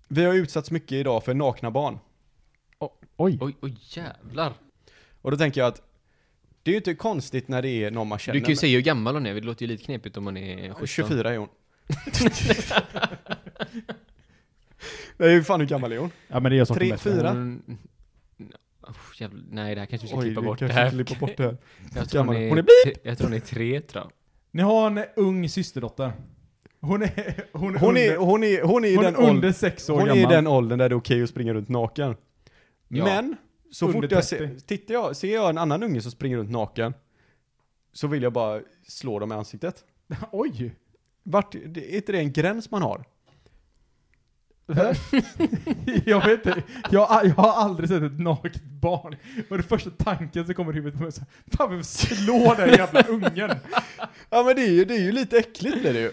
C: Vi har utsatts mycket idag för nakna barn.
D: Oj.
E: Oj, oj jävlar.
C: Och då tänker jag att det är ju inte konstigt när det är någon man känner.
E: Du kan ju säga hur gammal hon är, det låter ju lite knepigt om man är
C: men-
E: 17.
C: 24 är hon. Nej, hur fan hur gammal är hon?
D: Ja men det gör saker
C: Tre,
D: bättre.
C: fyra?
E: Hon... Oh, jävlar. Nej, det här kanske vi ska
C: Oj,
E: klippa
C: vi
E: bort. Det
C: kanske
E: här.
C: klipper bort det här.
E: Jag tror hon
C: gammal.
E: är,
C: Hon är
E: tre- Jag tror hon är tre, tror jag.
D: Ni har en ung systerdotter. Hon är, hon är,
C: Hon är,
D: under,
C: hon är, hon är i
D: hon
C: den
D: är
C: åldern.
D: under sex år
C: Hon är
D: gammal.
C: i den åldern där det är okej att springa runt naken.
E: Ja.
C: Men, så
D: Under
C: fort
D: 30.
C: jag ser, tittar jag, ser jag en annan unge som springer runt naken, så vill jag bara slå dem i ansiktet.
D: Oj.
C: Vart, det, är inte det en gräns man har?
D: jag vet inte, jag, jag har aldrig sett ett naket barn. Och det första tanken som kommer i huvudet på mig är så här, fan vi får slå den jävla ungen.
C: Ja men det är ju, det är ju lite äckligt blir det ju.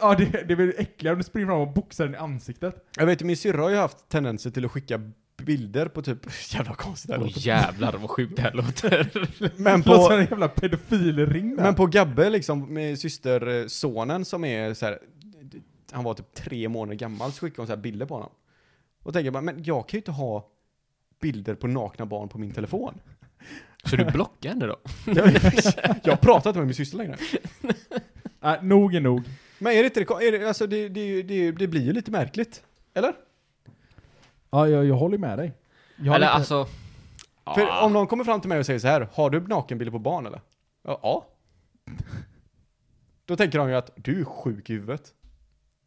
D: ja det, det blir äckligare om du springer fram och boxar den i ansiktet.
C: Jag vet min syrra har ju haft tendenser till att skicka bilder på typ, jävla konstigt det här
E: Åh
C: låter.
E: jävlar vad sjukt det här låter.
C: men,
D: Låter som
C: på,
D: en jävla pedofilring där.
C: men på Gabbe liksom, med systersonen som är så här, han var typ tre månader gammal, så skickade hon så här bilder på honom. Och tänker jag bara, men jag kan ju inte ha bilder på nakna barn på min telefon.
E: Så du blockar henne då?
C: Jag, jag pratar inte med min syster längre.
D: Nej, nog är nog.
C: Men är det inte det, är det, alltså det, det, är ju- det, är ju- det blir ju lite märkligt. Eller?
D: Ja, jag, jag håller med dig. Jag
E: Eller
D: håller med-
E: alltså...
C: För om någon kommer fram till mig och säger så här, har du nakenbilder på barn eller? Ja. ja. Då tänker de ju att du är sjuk i huvudet.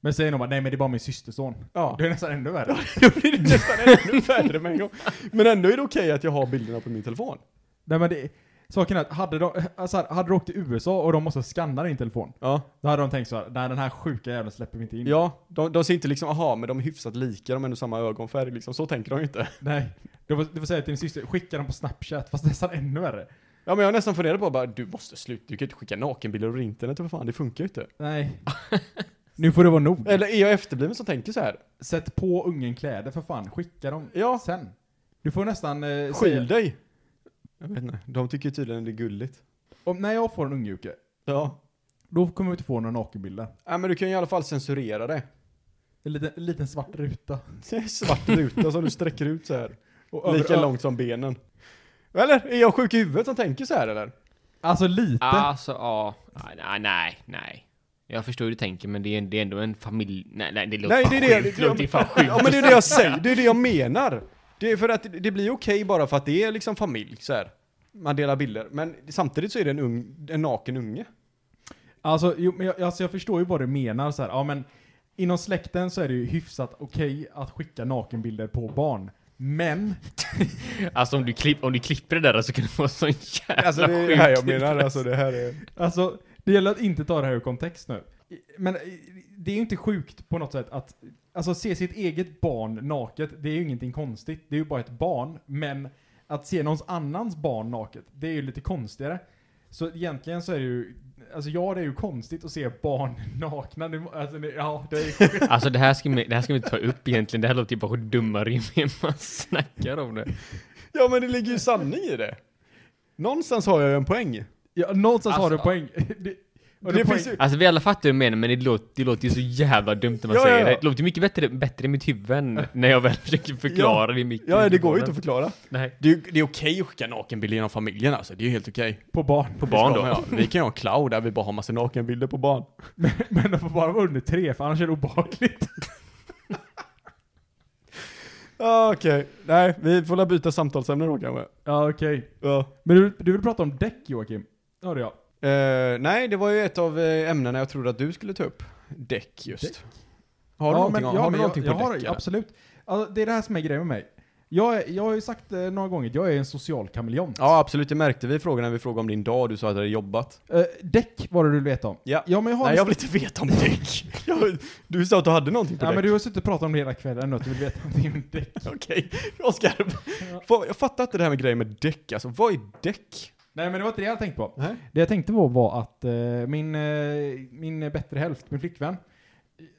D: Men säger någon bara, nej men det är bara min systerson.
C: Ja.
D: Det är nästan ännu värre.
C: Då blir det nästan ännu värre med en gång. Men ändå är det okej att jag har bilderna på min telefon.
D: nej men det, saken är att hade de, alltså här, hade de åkt till USA och de måste skanna din telefon,
C: Ja.
D: då hade de tänkt så här, nej den här sjuka jäveln släpper vi inte in.
C: Ja, de, de ser inte liksom, aha, men de är hyfsat lika, de har ändå samma ögonfärg liksom. Så tänker de ju inte.
D: Nej. Du får, du får säga till din syster, skicka den på snapchat, fast nästan ännu värre.
C: Ja, men jag har nästan funderat på bara, du måste sluta, du kan ju inte skicka nakenbilder över internet, för fan, det funkar ju inte.
D: Nej. nu får det vara nog.
C: Eller är jag efterbliven som tänker så här?
D: Sätt på ungen kläder för fan, skicka dem
C: Ja.
D: sen. Du får nästan eh,
C: Skyll
D: säga,
C: dig! Jag vet inte, de tycker tydligen det är gulligt.
D: om, när jag får en ungjuke,
C: Ja.
D: då kommer vi inte få några nakenbilder.
C: Nej men du kan ju i alla fall censurera det.
D: En liten, en liten svart ruta.
C: Det är en svart ruta som du sträcker ut så här.
D: Och över-
C: Lika långt som benen. Eller? Är jag sjuk i huvudet som tänker så här eller?
D: Alltså lite.
C: Ah.
E: Alltså, ja. Nej, nej, nej, nej. Jag förstår hur du tänker, men det är, det är ändå en familj... Nej, nej, det låter
C: Nej, det
E: fan
C: är det-
E: sjukt.
C: det-
E: Det låter ju fan sjukt.
C: Ja men det är det jag säger, det är det jag menar. Det är för att det blir okej bara för att det är liksom familj så här. Man delar bilder. Men samtidigt så är det en, ung, en naken unge.
D: Alltså, jo, men jag, alltså jag förstår ju vad du menar så här. Ja men inom släkten så är det ju hyfsat okej att skicka nakenbilder på barn. Men,
E: Alltså om du, klipp, om du klipper det där så kan det vara sån jävla
C: Alltså det är det
E: sjuk
C: här jag menar, alltså det här är...
D: alltså, det gäller att inte ta det här ur kontext nu. I- Men eh, det är ju inte sjukt på något sätt att, alltså se sitt eget barn naket, det är ju ingenting konstigt. Det är ju bara ett barn. Men att se någons annans barn naket, det är ju lite konstigare. Så egentligen så är det ju, alltså ja det är ju konstigt att se barn nakna. Det, alltså, det, ja, det är ju
E: Alltså det här, ska vi, det här ska vi inte ta upp egentligen, det här låter ju bara dummare ju mer man snackar om det.
C: Ja men det ligger ju sanning i det. Någonstans har jag ju en poäng.
D: Ja, någonstans har
E: Alltså-
D: du poäng. Det, och
C: Det
D: det
C: finns
D: poäng.
C: ju-
E: Alltså vi alla fattar hur jag menar, men det låter, det låter ju så jävla dumt när man
C: Ja,
E: säger
C: ja, ja.
E: det. Det låter ju mycket bättre, bättre i mitt huvud än när jag väl försöker förklara det i mitt
C: Ja det går ju inte att förklara.
E: Nej.
C: Det är, det är okej att skicka nakenbilder genom familjen alltså, det är ju helt okej.
D: På barn.
E: På barn
C: Det ska
E: då?
C: man ju ha. Vi kan ju ha en cloud där vi bara har massa nakenbilder på barn.
D: Men de får bara vara under tre, för annars är det obehagligt.
C: Ja okej, nej vi får väl byta samtalsämne då kanske.
D: Ja, okej.
C: Ja.
D: Men du, du vill prata om däck, Joakim? Hörde jag.
C: Eh, nej, det var ju ett av eh, ämnena jag trodde att du skulle ta upp. Däck just. Har du
D: ja,
C: någonting, har
D: ja,
C: du
D: men
C: någonting
D: jag,
C: på
D: jag har,
C: däck? eller?
D: Absolut. Alltså, det är det här som är grejen med mig. Jag, är, jag har ju sagt eh, några gånger att jag är en social kameleont.
C: Ja, absolut. Det märkte vi i frågan när vi frågade om din dag. Du sa att du hade jobbat.
D: Eh, däck var det du letade om.
C: Ja.
D: ja, men jag har...
C: Nej, jag vill inte veta om däck. Jag, du sa att du hade någonting på
D: Ja,
C: däck.
D: men du har suttit och pratat om det hela kvällen nu, att du vill veta någonting om däck.
C: Okej, Oskar. Fan, Jag fattar inte det här med grejen med däck. Alltså, vad är däck?
D: Nej, men det var inte det jag tänkte på.
C: Nej.
D: Det jag tänkte på var att eh, min, eh, min bättre hälft, min flickvän,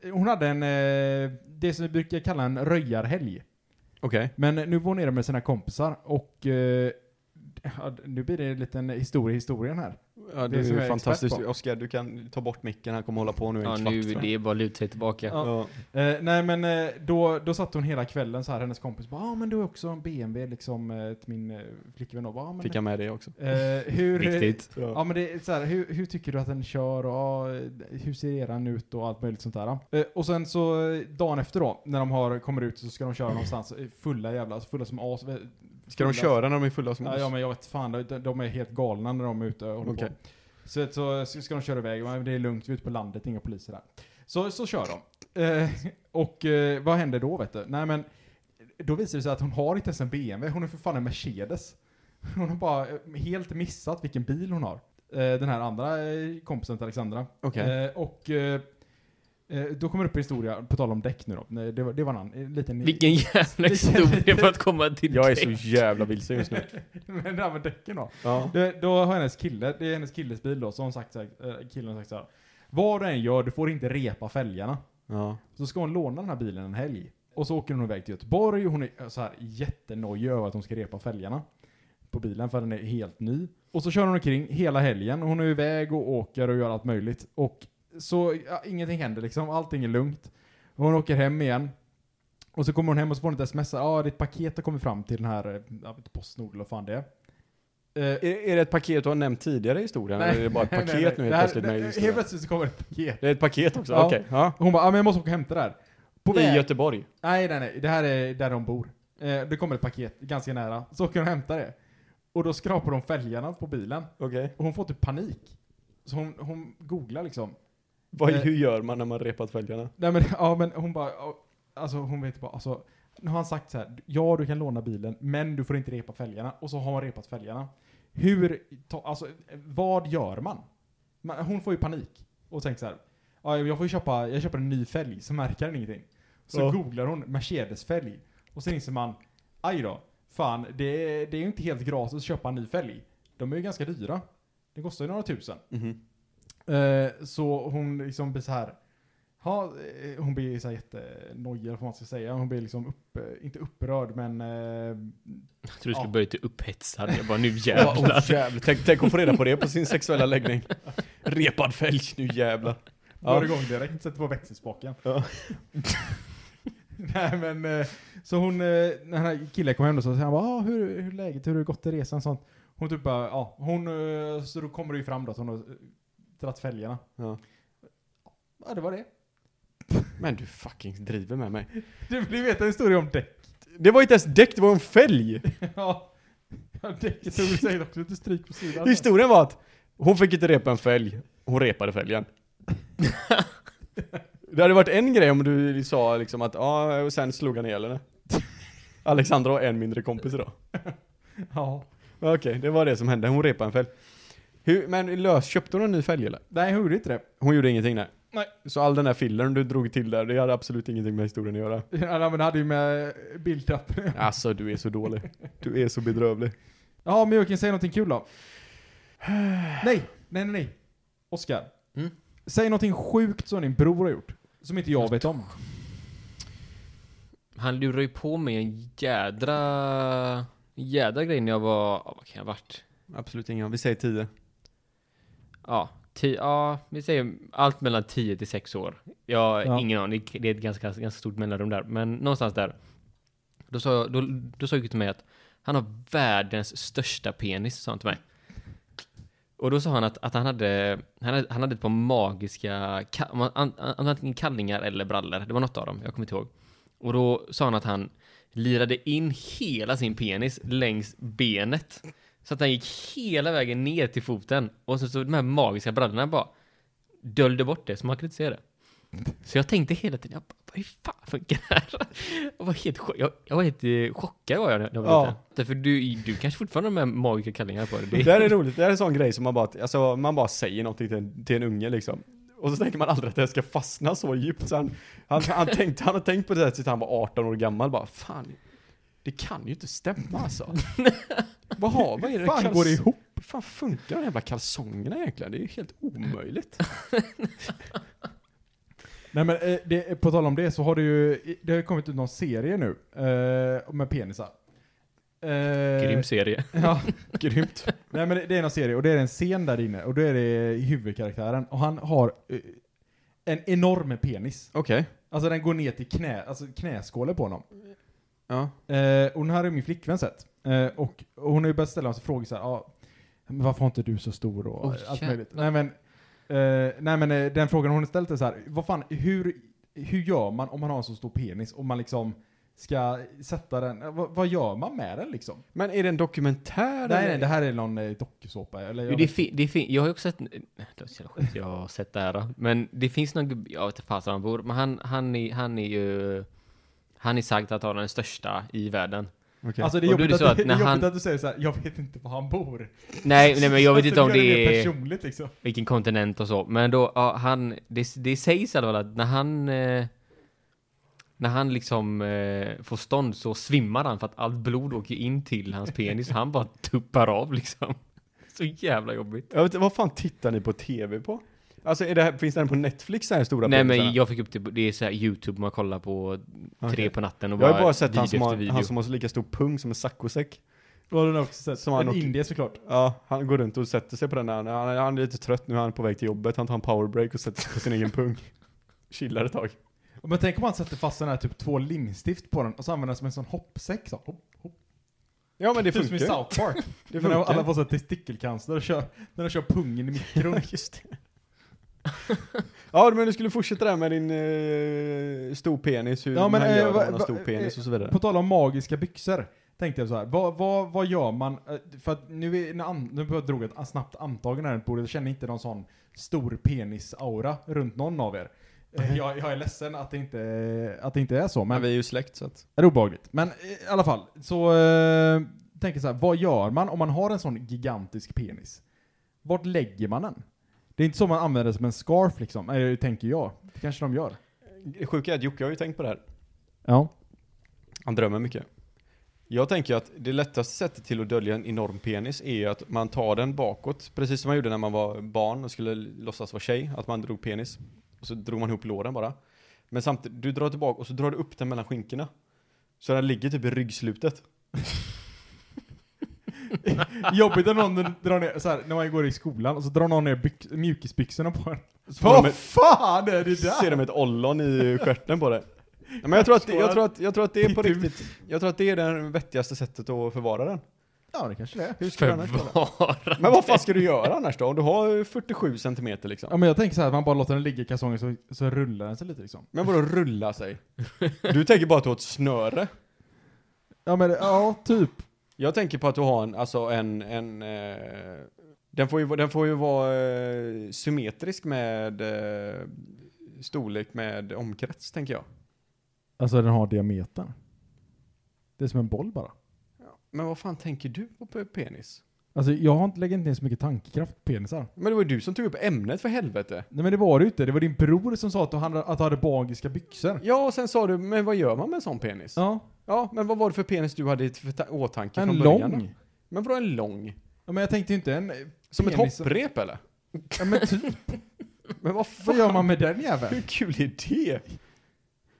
D: eh, hon hade en, eh, det som vi brukar kalla en röjarhelg.
C: Okej.
D: Men nu var hon nere med sina kompisar och eh, ja, nu blir det en liten historia i historien här.
C: Ja,
D: Det är som
C: du
D: jag
C: är
D: är
C: fantastisk.
D: expert på.
C: Oskar, du kan ta bort micken. Han kommer hålla på nu i en
E: Ja
C: kvart.
E: nu,
C: tror jag.
E: det är bara att luta sig tillbaka.
D: Ja.
C: Ja.
D: Eh, nej men eh, då, då satt hon hela kvällen så här, hennes kompis bara ah, men du har också en BMW liksom eh, till min eh, flickvän och bara ah, men
C: Fick jag med det också.
D: eh, hur,
E: Viktigt.
D: Ja men det är så här, hur, hur tycker du att den kör och ah, hur ser eran ut och allt möjligt sånt där. Eh, och sen så eh, dagen efter då, när de har, kommer ut så ska de köra någonstans, eh, fulla jävla, alltså fulla som as. eh,
C: Ska de
D: fulla-
C: köra när de är fulla som
D: Ja,
C: oss?
D: ja men jag vet fan, de, de är helt galna när de är ute och håller
C: Okej.
D: på. Så, vet, så så ska de köra iväg, men det är lugnt, vi är ute på landet, inga poliser där. Så, så kör de. Eh, och eh, vad händer då vet du? Nej men, då visar det sig att hon har inte ens en BMW, hon är för fan en Mercedes. Hon har bara eh, helt missat vilken bil hon har. Eh, den här andra eh, kompisen till Alexandra.
C: Okej.
D: Eh, och eh, eh, då kommer det upp en historia, på tal om däck nu då. Nej, Det var, det var en annan, en liten...
E: Vilken jävla historia för att komma till
C: Jag är
E: dig.
C: så jävla vilse just nu.
D: Men det här med däcken då.
C: Ja.
D: Det, då har hennes kille, det är hennes killes bil då, så har hon sagt så här, eh, killen har sagt så här. Vad du än gör, du får inte repa fälgarna.
C: ja.
D: Så ska hon låna den här bilen en helg. Och så åker hon iväg till Göteborg och hon är eh, så här jättenojig över att hon ska repa fälgarna på bilen för den är helt ny. Och så kör hon omkring hela helgen och hon är iväg och åker och gör allt möjligt. Och så ja, ingenting händer liksom, allting är lugnt. Och hon åker hem igen. Och så kommer hon hem och så får hon ett sms, ja ah, ditt paket har kommit fram till den här, eh, jag vet inte, Postnord eller vad fan det är. Eh,
C: Är, är det ett paket du har nämnt tidigare i historien?
D: Nej,
C: eller är det bara ett
D: nej,
C: paket
D: nej, nej.
C: nu
D: Det
C: helt
D: här-
C: plötsligt med i
D: det-
C: historien?
D: Helt plötsligt så kommer det ett paket.
C: Det är ett paket också?
D: Ja.
C: Okej. Ja.
D: Hon bara, ah, men jag måste åka och hämta det här. På
C: I
D: väg-
C: Göteborg?
D: Nej, nej, nej. Det här är där de bor. Eh, det kommer ett paket ganska nära. Så åker hon och hämtar det. Och då skrapar de fälgarna på bilen.
C: Okej.
D: Och hon får typ panik. Så hon, hon googlar liksom.
C: Vad,
D: Eh.
C: hur gör man när man repat fälgarna?
D: Nej men, ja men hon bara, ja, alltså hon vet bara, alltså. Nu har han sagt så här, ja du kan låna bilen, men du får inte repa fälgarna. Och så har hon repat fälgarna. Hur, ta, alltså vad gör man? man? Hon får ju panik. Och tänker så här, ja, jag får ju köpa, jag köper en ny fälg, så märker den ingenting. Så
C: Ja.
D: googlar hon Mercedes-fälg. Och sen inser man, aj då, fan det, är- det är ju inte helt gratis att köpa en ny fälg. De är ju ganska dyra. Det kostar ju några tusen.
C: Mhm.
D: Eh, så hon liksom blir så här. Ha, eh, hon blir så här jättenojig eller vad man ska säga. Hon blir liksom, upp, eh, inte upprörd men... Eh,
E: Jag tror du
D: Ja.
E: skulle börja till upphetsad. Jag bara nu
C: Ja,
E: jävlar.
C: oh, jävlar. tänk, tänk att få reda på det på sin sexuella läggning. Repad fälg, nu jävlar.
D: går
C: Ja.
D: igång direkt, sätter på växelspaken.
C: Ja.
D: Nej men, eh, så hon, eh, när den här killen kom hem då så sa han bara, ah, hur, hur är läget, hur har det gått i resan och sånt. Hon typ bara, ja, hon, eh, så då kommer det ju fram då att hon har eh, dratt fälgarna.
C: Ja.
D: Ja, det var det.
C: Men du fucking driver med mig.
D: Du vill ju veta en historia om däck.
C: Det var inte ens däck, det var en fälg!
D: ja, Ja, däcket tog säkert också lite stryk på sidan.
C: Historien var att hon fick inte repa en fälg, hon repade fälgen. Det hade varit en grej om du sa liksom att ja, och sen slog han ihjäl henne. Alexandra har en mindre kompis idag.
D: Ja.
C: Okej, det var det som hände. Hon repade en fälg. Hur, men lös, köpte hon en ny fälg eller?
D: Nej, hon gjorde inte det.
C: Hon gjorde ingenting nej.
D: Nej.
C: Så all den där fillern du drog till där, det hade absolut ingenting med historien att göra.
D: Ja, men det hade ju med biltrappen.
C: Alltså du är så dålig. Du är så bedrövlig.
D: Ja, men Joakim, säg någonting kul då. Nej, nej, nej, nej. Oskar.
C: Mm?
D: Säg någonting sjukt som din bror har gjort. Som inte jag vet om.
E: Han lurade ju på mig en jädra, jädra grej när jag var, ja, vad kan jag ha varit?
C: Absolut inga. Vi säger 10.
E: Ja, ti, ja, vi säger allt mellan 10 till 6 år. Jag har
D: Ja.
E: ingen aning, det är ett ganska, ganska stort mellanrum där, men någonstans där. Då sa, jag- då, då sa jag till mig att han har världens största penis, sa han till mig. Och då sa han att, att han, hade, han hade, han hade ett par magiska, ka- om han- an- an- antingen kallingar eller brallor, det var något av dem, jag kommer inte ihåg. Och då sa han att han lirade in hela sin penis längs benet. Så att han gick hela vägen ner till foten. Och sen så de här magiska brallorna bara döljde bort det, så man kunde inte se det. Så jag tänkte hela tiden, jag bara, vad i fan funkar det här? Jag var helt, chock- jag, jag var helt eh, chockad var jag när jag var
C: Ja.
E: liten. Därför du, du kanske fortfarande har de här magiska kallingarna på dig. Det
C: Det
E: är-
C: där är roligt, det där är en sån grej som man bara, alltså, man bara säger någonting till en, till en unge liksom. Och så tänker man aldrig att det här ska fastna så djupt. Så han, han, han, tänkte, han har tänkt på det här tills han var 18 år gammal. Bara, fan, det kan ju inte stämma alltså. vad, har, vad är det?
D: Fan,
C: Kals-
D: går det ihop?
C: Hur fan funkar de jävla kalsongerna egentligen? Det är ju helt omöjligt.
D: Nej men eh, det, på tal om det så har det ju, det har ju kommit ut någon serie nu. Eh, med penisar. Eh,
E: Grym serie.
D: Ja.
C: Grymt.
D: Nej men det, det är någon serie och det är en scen där inne och då är det huvudkaraktären och han har eh, en enorm penis.
C: Okej.
D: Alltså den går ner till knä, alltså knäskålen på honom.
C: Ja.
D: Eh, och den här är min flickvän sett. Eh, och, och hon har ju börjat ställa en massa frågor såhär, ah, men varför har inte du så stor och
E: Oj,
D: allt
E: jävlar.
D: möjligt. Nej men, eh, nej men eh, den frågan hon har ställt är såhär, vad fan, hur, hur gör man om man har en så stor penis? Om man liksom ska sätta den, eh, vad, vad gör man med den liksom?
C: Men är det en dokumentär?
D: Nej
C: eller?
D: nej, det här är någon eh, dokusåpa eller? jag
E: Jo,
D: vet
E: det är fi- det är fin- jag har ju också sett, nej, det var så jävla skit, jag har sett det här. då. Men det finns någon gubbe, jag vet inte fasen var han bor, men han, han, är, han är ju, han är sagt att ha den största i världen.
C: Okej.
D: Alltså det är
E: Och då är
D: jobbigt,
E: det
D: att,
E: så
D: det
E: att
D: är
E: när
D: jobbigt
E: han-
D: att du säger såhär, jag vet inte var han bor.
E: Nej, nej men jag vet
D: Alltså,
E: inte om
D: du gör mer
E: det är
D: personligt liksom.
E: vilken kontinent och så, men då, ja, han, det, det sägs i alla fall att när han, eh, när han liksom eh, får stånd så svimmar han för att allt blod åker in till hans penis, han bara tuppar av liksom. Så jävla jobbigt.
C: Jag vet inte, vad fan tittar ni på TV på? Alltså är det här, finns det här på Netflix den här stora
E: Nej men
C: penisarna?
E: jag fick upp det, på- det är så här YouTube man kollar på tre
C: Okej.
E: på natten och
C: Jag
E: bara
C: har ju bara sett han
E: video
C: som,
E: efter
C: har,
E: video.
C: han som har så lika stor pung som en saccosäck.
D: Då har den också sett.
C: Som
D: Som
C: han
D: en
C: åker-
D: indie såklart.
C: Ja, han går runt och sätter sig på den här. Han, är- han är lite trött nu, han är på väg till jobbet. Han tar en powerbreak och sätter sig på sin egen pung. Chillar ett tag.
D: Men tänk om man sätter fast den här typ två limstift på den och så använder den som en sån hoppsäck så. Hopp, hopp.
C: Ja men det
D: Typ som i
C: funkar ju.
D: South Park.
C: Det
D: När de- alla
C: funkar.
D: får sån testikelcancer och kör, när de kör pungen i mikron.
C: Just det. ja men du skulle fortsätta där med din eh, stor penis, hur
D: Ja, men,
C: man
D: eh,
C: gör om
D: va-
C: man har
D: va-
C: stor penis
D: eh,
C: och så vidare.
D: på tal om magiska byxor. Tänkte jag så här, vad, vad, vad gör man? eh, För att nu, är, när an, nu bara drog jag ett snabbt antagande här runt bordet, jag känner inte någon sån stor penis-aura runt någon av er. Eh, Jag, jag är ledsen att det inte, att det inte är så, men
C: Men vi är ju släkt så att.
D: Det är obehagligt. Men eh, i alla fall, så eh, tänker jag så här, vad gör man om man har en sån gigantisk penis? Vart lägger man den? Det är inte så man använder det som en scarf liksom, eller det tänker jag. Det kanske de gör.
C: Det sjuka är att Jocke har ju tänkt på det här.
D: Ja.
C: Han drömmer mycket. Jag tänker ju att det lättaste sättet till att dölja en enorm penis är ju att man tar den bakåt. Precis som man gjorde när man var barn och skulle låtsas vara tjej. Att man drog penis. Och så drog man ihop låren bara. Men samtidigt, du drar tillbaka och så drar du upp den mellan skinkorna. Så den ligger typ i ryggslutet.
D: Jobbigt när någon drar ner, så här, när man går i skolan och så drar någon ner byx, mjukisbyxorna på en.
C: Så får de
D: Vad
C: ett,
D: fan är det
C: ser
D: där?
C: de ett ollon i stjärten på dig. Nej, Men jag tror, att, jag, tror att, jag tror att det är på
D: Pitut.
C: riktigt. Jag tror att det är det vettigaste sättet att förvara den.
D: Ja, det kanske det är.
C: Hur ska du annars göra?
E: Förvara.
C: Men vad fan ska du göra annars då? Om du har 47 centimeter liksom.
D: Ja, men jag tänker så här, att man bara låter den ligga i kalsongen så, så rullar den sig lite liksom.
C: Men vadå rulla sig? Du tänker bara att du har ett snöre.
D: Ja, men ja, typ.
C: Jag tänker på att du har en, alltså en, en eh, den, får ju, den får ju vara eh, symmetrisk med eh, storlek med omkrets tänker jag.
D: Alltså den har diametern. Det är som en boll bara.
C: Men vad fan tänker du på pe- penis?
D: Alltså jag har inte lägger inte ner så mycket tankekraft på penisar.
C: Men det var ju du som tog upp ämnet för helvete.
D: Nej men det var det ju inte. Det var din bror som sa att du hade, att du hade magiska byxor.
C: Ja, och sen sa du, men vad gör man med en sån penis? Ja,
D: Ja,
C: men vad var det för penis du hade i t- ta- åtanke
D: en
C: från början? då?
D: lång.
C: Men vadå en lång?
D: Ja, men jag tänkte ju inte en...
C: Som
D: Penis-
C: ett hopprep eller?
D: Ja, men typ,
C: Men vad fan?
D: vad gör man med den jäveln?
C: Hur kul är det?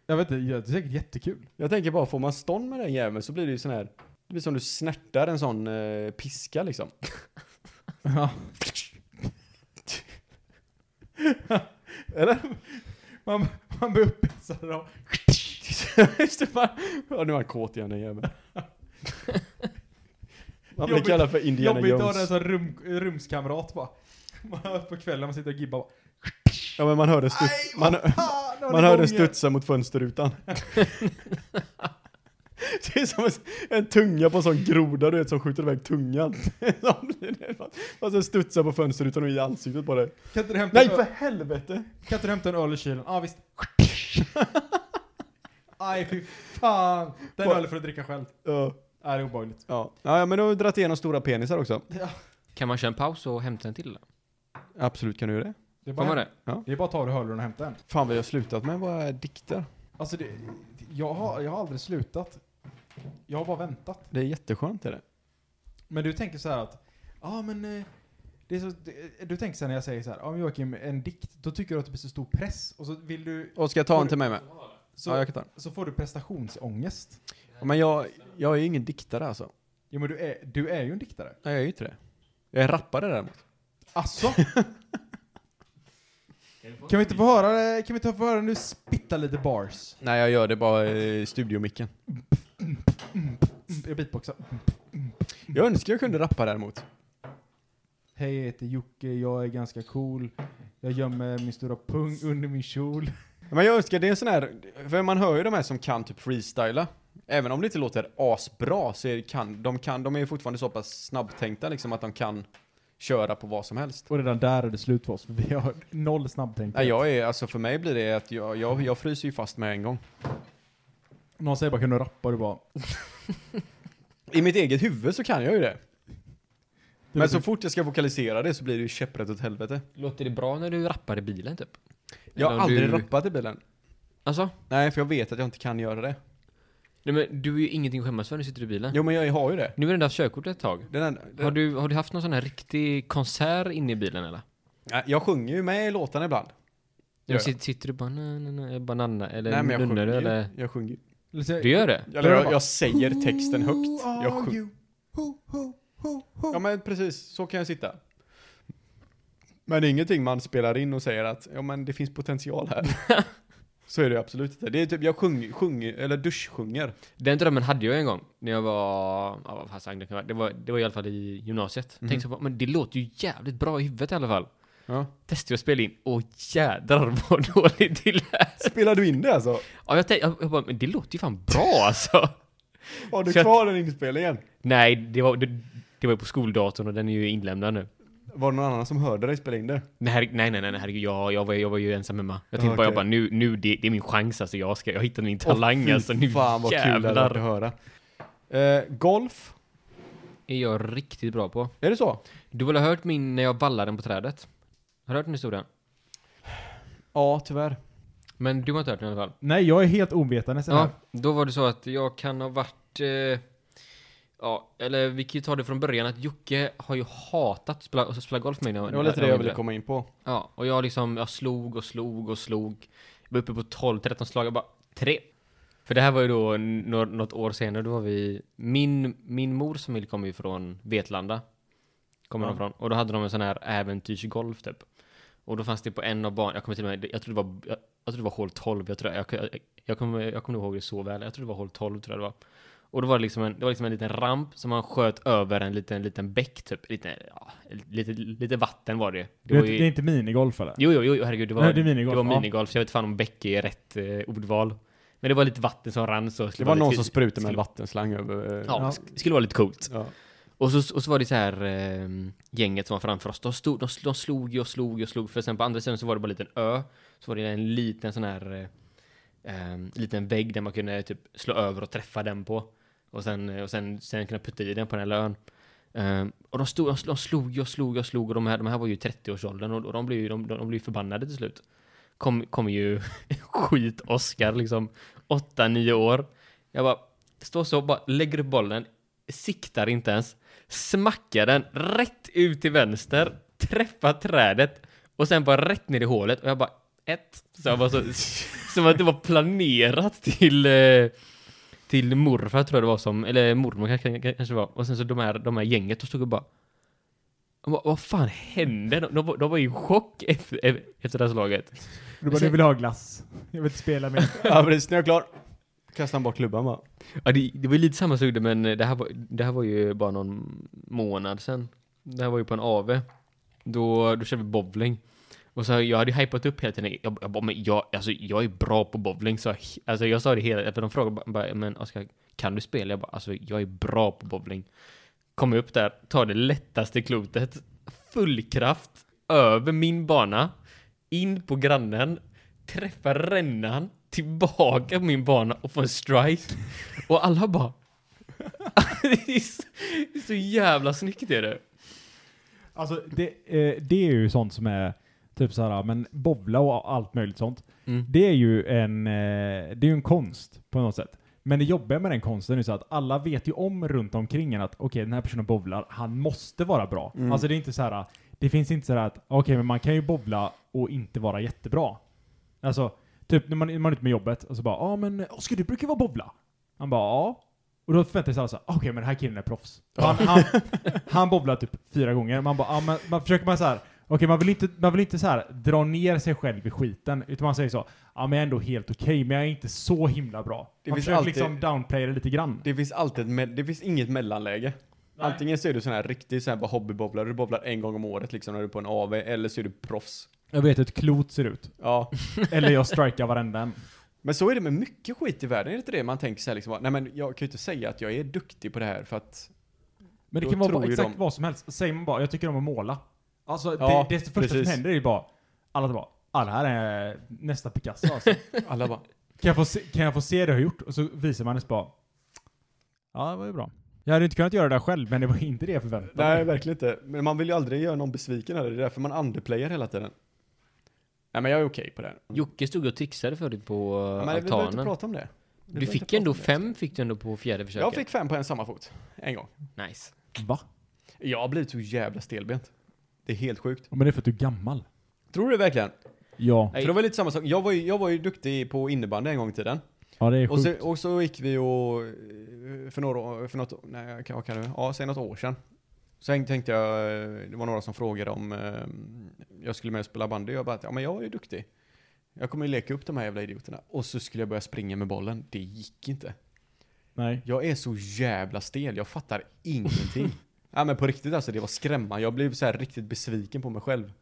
D: Jag vet inte, det är säkert jättekul.
C: Jag tänker bara, får man stånd med den jäveln så blir det ju sån här, det blir som du snärtar en sån eh, piska liksom.
D: Ja.
C: Eller?
D: Man, man blir upphetsad av...
C: Just det, man, ja, nu är han kåt igen den jäveln. Man blir
D: Jobbigt-
C: kallad för Indiana
D: Jobbigt att ha den
C: Jones.
D: som rum, rumskamrat bara. Man har på kvällen, man sitter och gibbar bara.
C: Ja men man hör det stut, man,
D: "Fan, nu har
C: man
D: det
C: hör det
D: gått igen."
C: studsa mot fönsterrutan. Det är som en, en tunga på en sån groda du vet som skjuter iväg tungan. Och sen studsar på fönsterrutan och i ansiktet på dig.
D: Kan inte du hämta,
C: Nej
D: en öl-
C: för helvete!
D: kan inte du hämta en öl i kylen? Ja ah, visst. Aj fy fan. Den
C: Vad-
D: ölen får du dricka själv.
C: Ja.
D: Nej, det är obehagligt.
C: Ja, ja men du har ju dragit igenom stora penisar också.
E: Kan man köra en paus och hämta en till?
C: Absolut kan du göra det.
D: Det är
E: Får man
D: bara,
E: det?
D: det är bara att ta av dig hörlurarna och hämta en.
C: Fan vi har slutat med våra dikter.
D: Alltså det, jag har, jag har aldrig slutat. Jag har bara väntat.
C: Det är jätteskönt är det.
D: Men du tänker så här att, ja men eh, det är så, det, du tänker så här när jag säger så här, ja men Joakim, en dikt, då tycker du att det blir så stor press och så vill du,
C: Och ska jag ta en till mig med?
D: så,
C: Ja, jag kan ta den.
D: så får du prestationsångest.
C: Ja, Men jag, jag är ju ingen diktare alltså.
D: Jo men du är, du är ju en diktare.
C: Nej, jag är ju inte det. Jag är rappare däremot.
D: Alltså? kan vi inte få höra, kan vi inte få höra nu spitta lite bars?
C: Nej, jag gör det bara i studiomicken.
D: Jag beatboxar.
C: Jag önskar jag kunde rappa däremot.
D: Hej, jag heter Jocke, jag är ganska cool. Jag gömmer min stora pung under min kjol.
C: Men jag önskar, det är en sån här, för man hör ju de här som kan typ freestyla. Även om det inte låter asbra så är det kan, de kan, de är ju fortfarande så pass snabbtänkta liksom att de kan köra på vad som helst.
D: Och redan där är det slut för oss, för vi har noll snabbtänkare.
C: Nej, jag är, alltså för mig blir det att jag, jag, jag fryser ju fast med en gång.
D: Någon säger bara kan du rappa och du bara
C: I mitt eget huvud så kan jag ju det. Men
D: låter-
C: så fort jag ska vokalisera det så blir det ju käpprätt åt helvete.
E: Låter det bra när du rappar i bilen typ?
C: Jag har
E: Eller om
C: aldrig
E: du...
C: rappat i bilen.
E: Alltså?
C: Nej, för jag vet att jag inte kan göra det.
E: Nej, men du är ju ingenting att skämmas för när du sitter i bilen.
C: Jo, men jag har ju det.
E: Nu är den där körkortet ett tag.
C: Den enda- den,
E: Har du, har du haft någon sån här riktig konsert inne i bilen eller?
C: Nej, jag sjunger ju med i låtarna ibland. Gör
E: Ja.
C: jag.
E: Sitter, sitter du bara na, na, na, banana eller
C: Nej, men jag
E: nunnar
C: sjunger,
E: du
C: ju.
E: eller?
C: jag sjunger ju.
D: Eller så-
E: Du gör det?
C: Eller jag,
D: bara,
C: jag säger texten högt.
D: Who are
C: Jag sjunger.
D: you? Who, who, who, who?
C: Ja, men precis. Så kan jag sitta. Men det är ingenting man spelar in och säger att ja, men det finns potential här. så är det absolut inte. Det är typ, jag sjunger, sjunger eller duschsjunger.
E: Den drömmen hade jag en gång när jag var, ja, vad fan sang det kan vara. Det var, det var i alla fall i gymnasiet.
C: Mhm.
E: Tänkte jag bara, men det låter ju jävligt bra i huvudet i alla fall.
C: Ja.
E: Testade jag att spela in, och jädrar vad dåligt det lät.
C: Spelar du in det alltså?
E: Ja, jag tänkte, jag, jag bara, men det låter ju fan bra alltså.
C: Har du
E: Så jag-
C: kvar den inspelningen?
E: Nej, det var, det, det var ju på skoldatorn och den är ju inlämnad nu.
C: Var det någon annan som hörde dig spela in det?
E: Nej, herre- nej, nej, nej, nej, herregud, jag, jag, var, jag var ju ensam hemma. Jag tänkte
C: Ja,
E: bara, jag
C: okej.
E: bara, nu, nu det, det är min chans alltså, jag ska, jag hittar min talang
C: Åh, fy
E: alltså, nu
C: fan vad kul det hade varit att
E: jävlar.
C: höra. Eh, golf,
E: Är jag riktigt bra på.
C: är det så?
E: Du har väl hört min när jag vallade den på trädet? Har du hört den historien?
C: Ja, tyvärr.
E: Men du har inte hört den i alla fall.
D: Nej, jag är helt ovetande sen
E: Ja,
D: här.
E: då var det så att jag kan ha varit... Eh, ja, eller vi kan ju ta det från början att Jocke har ju hatat att spela, att spela golf med mig. när-
C: Det var lite
E: när
C: det jag
E: var
C: ville
E: mindre.
C: komma in på.
E: Ja, och jag liksom, jag slog och slog och slog. Jag var uppe på 12-13 slag, jag bara tre. För det här var ju då n- nå- något år senare, då var vi, min, min mors familj kommer ju från Vetlanda. Kommer de från. Och då hade de en sån här äventyrsgolf typ. Och då fanns det på en av banorna, jag kommer till och med, jag tror det var, jag, jag tror det var hål 12, jag tror, jag, jag, jag kommer jag kommer nog ihåg det så väl, jag tror det var hål 12 tror jag det var. Och då var det liksom en, det var liksom en liten ramp som man sköt över en liten, liten bäck typ. Lite, ja, lite, lite vatten var det. Det,
D: Det, är
E: var
D: inte- det är inte minigolf eller?
E: Alltså. Jo, jo, jo, herregud. Det var,
D: Nej, det
E: det
D: är minigolf,
E: var
D: ja.
E: minigolf, så jag vet fan om bäck är rätt eh, ordval. Men det var lite vatten som rann så.
C: Det var någon som
E: sprutade
C: sprutade med en vattenslang över... eh,
E: Ja,
D: Ja.
E: sk- skulle vara lite coolt.
C: ja.
E: Och så, och så var det så här eh, gänget som var framför oss. De, stod, de, sl- de slog ju och slog ju och slog. För sen på andra sidan så var det bara en liten ö. Så var det en ehm, liten sån här eh, eh, liten vägg där man kunde typ slå över och träffa den på. Och sen, och sen, sen kunna putta i den på den här lön. Ehm, och de, stod, de sl- de slog och slog och slog och de här, de här var ju i 30-årsåldern och, och de blev ju de, de, de blev ju förbannade till slut. Kom, kom ju skit-Oskar liksom, 8-9 år. Jag bara, står så och bara lägger upp bollen, siktar inte ens, smackar den rätt ut till vänster, träffar trädet och sen bara rätt ner i hålet och jag bara, ett. Så jag bara så, som att det var planerat till eh, till morfar tror jag det var som, eller mormor kanske, kanske det var. Och sen så de här, de här gänget, de stod och bara... De bara vad fan hände? De, de, var- de var i chock efter, efter det här slaget.
D: Du bara, du vill ha glass. Jag vill inte spela mer.
C: Ja precis, när jag är klar. Kastar han bort klubban bara.
E: Ja, det, det var ju lite samma sak men det här, var, det här var ju bara någon månad sedan. Det här var ju på en AV. Då, då körde vi bowling. Och så jag hade ju hypat upp hela tiden. Jag, jag bara, men jag, alltså, jag är bra på bowling. Så jag, alltså, jag sa det hela för de frågade bara, bara, men Oskar, kan du spela? Jag bara, alltså jag är bra på bowling. Kommer upp där, tar det lättaste klotet. Full kraft, över min bana, in på grannen, träffar rännan, tillbaka på min bana och får en strike. Och alla bara... det, är så, det är så jävla snyggt är det.
D: Alltså det, eh, det är ju sånt som är typ så här, ja, men bowla och allt möjligt sånt.
E: Mm.
D: Det är ju en, eh, det är ju en konst på något sätt. Men det jobbiga med den konsten är så att alla vet ju om runt omkring en att okej, den här personen bowlar, han måste vara bra.
C: Mm.
D: Alltså det är inte så här, det finns inte så här att okej, men man kan ju bowla och inte vara jättebra. Alltså, typ när man, när man är ute med jobbet och så bara ja ah, men Oskar du brukar ju vara bowla. Han bara ja. Och då förväntar sig alla så här, okej men den här killen är proffs. Och Han, han, han bowlar typ fyra gånger. Man bara, ah, men, man försöker man så här, okej man vill inte, man vill inte så här dra ner sig själv i skiten. Utan man säger så, ja men jag är ändå helt okej men jag är inte så himla bra.
C: Det
D: man
C: finns
D: försöker
C: alltid-
D: liksom downplaya det lite grann.
C: Det finns alltid, ett me- det finns inget mellanläge. Antingen så är du sån här riktig sån här bara hobbybobblare, du bobblar en gång om året liksom när du är på en AV, eller så är du proffs.
D: Jag vet hur ett klot ser ut.
C: Ja.
D: Eller jag strikar varenda en.
C: Men så är det med mycket skit i världen, är det inte det? Man tänker så här liksom, bara, nej men jag kan ju inte säga att jag är duktig på det här för att
D: Men det
C: Då
D: kan vara
C: tror
D: bara
C: ju
D: exakt
C: de-
D: vad som helst. Säger man bara, jag tycker om att måla. Alltså
C: Ja,
D: det, det första
C: precis.
D: som händer är ju bara, alla bara, ah, det här är nästa Picasso alltså.
C: alla bara,
D: Kan jag, få se, kan jag få se det jag har gjort? Och så visar man det bara. Ja, det var ju bra. Jag hade inte kunnat göra det där själv, men det var inte det jag förväntade
C: nej
D: mig.
C: verkligen inte. Men man vill ju aldrig göra någon besviken heller, det är därför man underplayar hela tiden. Nej men jag är okej på det här.
E: Jocke stod och trixade förut på
C: Ja,
E: eh,
C: men vi behöver inte
E: altanen.
C: prata om det. Vi
E: Du
C: behöver inte
E: fick
C: prata
E: ändå
C: om det.
E: fem fick du ändå på fjärde försöket.
C: Jag fick fem på en samma fot, en gång.
E: Nice.
D: Va?
C: Jag har blivit så jävla stelbent. Det är helt sjukt.
D: Ja, Men det är för att du är gammal.
C: Tror du det verkligen?
D: Ja.
E: Nej.
C: För det var lite samma sak. Jag var ju, jag var ju duktig på innebandy en gång i tiden.
D: Ja, det är
C: Och
D: sjukt.
C: så, och så gick vi och... eh, För några år- för något, nej, kan- vad kan det, ja, säg något år sedan. Så häng- tänkte jag, eh, det var några som frågade om eh, jag skulle med och spela bandy. Jag bara, ja men jag är ju duktig. Jag kommer ju leka upp de här jävla idioterna. Och så skulle jag börja springa med bollen. Det gick inte.
D: Nej.
C: Jag är så jävla stel, jag fattar ingenting. ja men på riktigt alltså, det var skrämmande. Jag blev så här riktigt besviken på mig själv.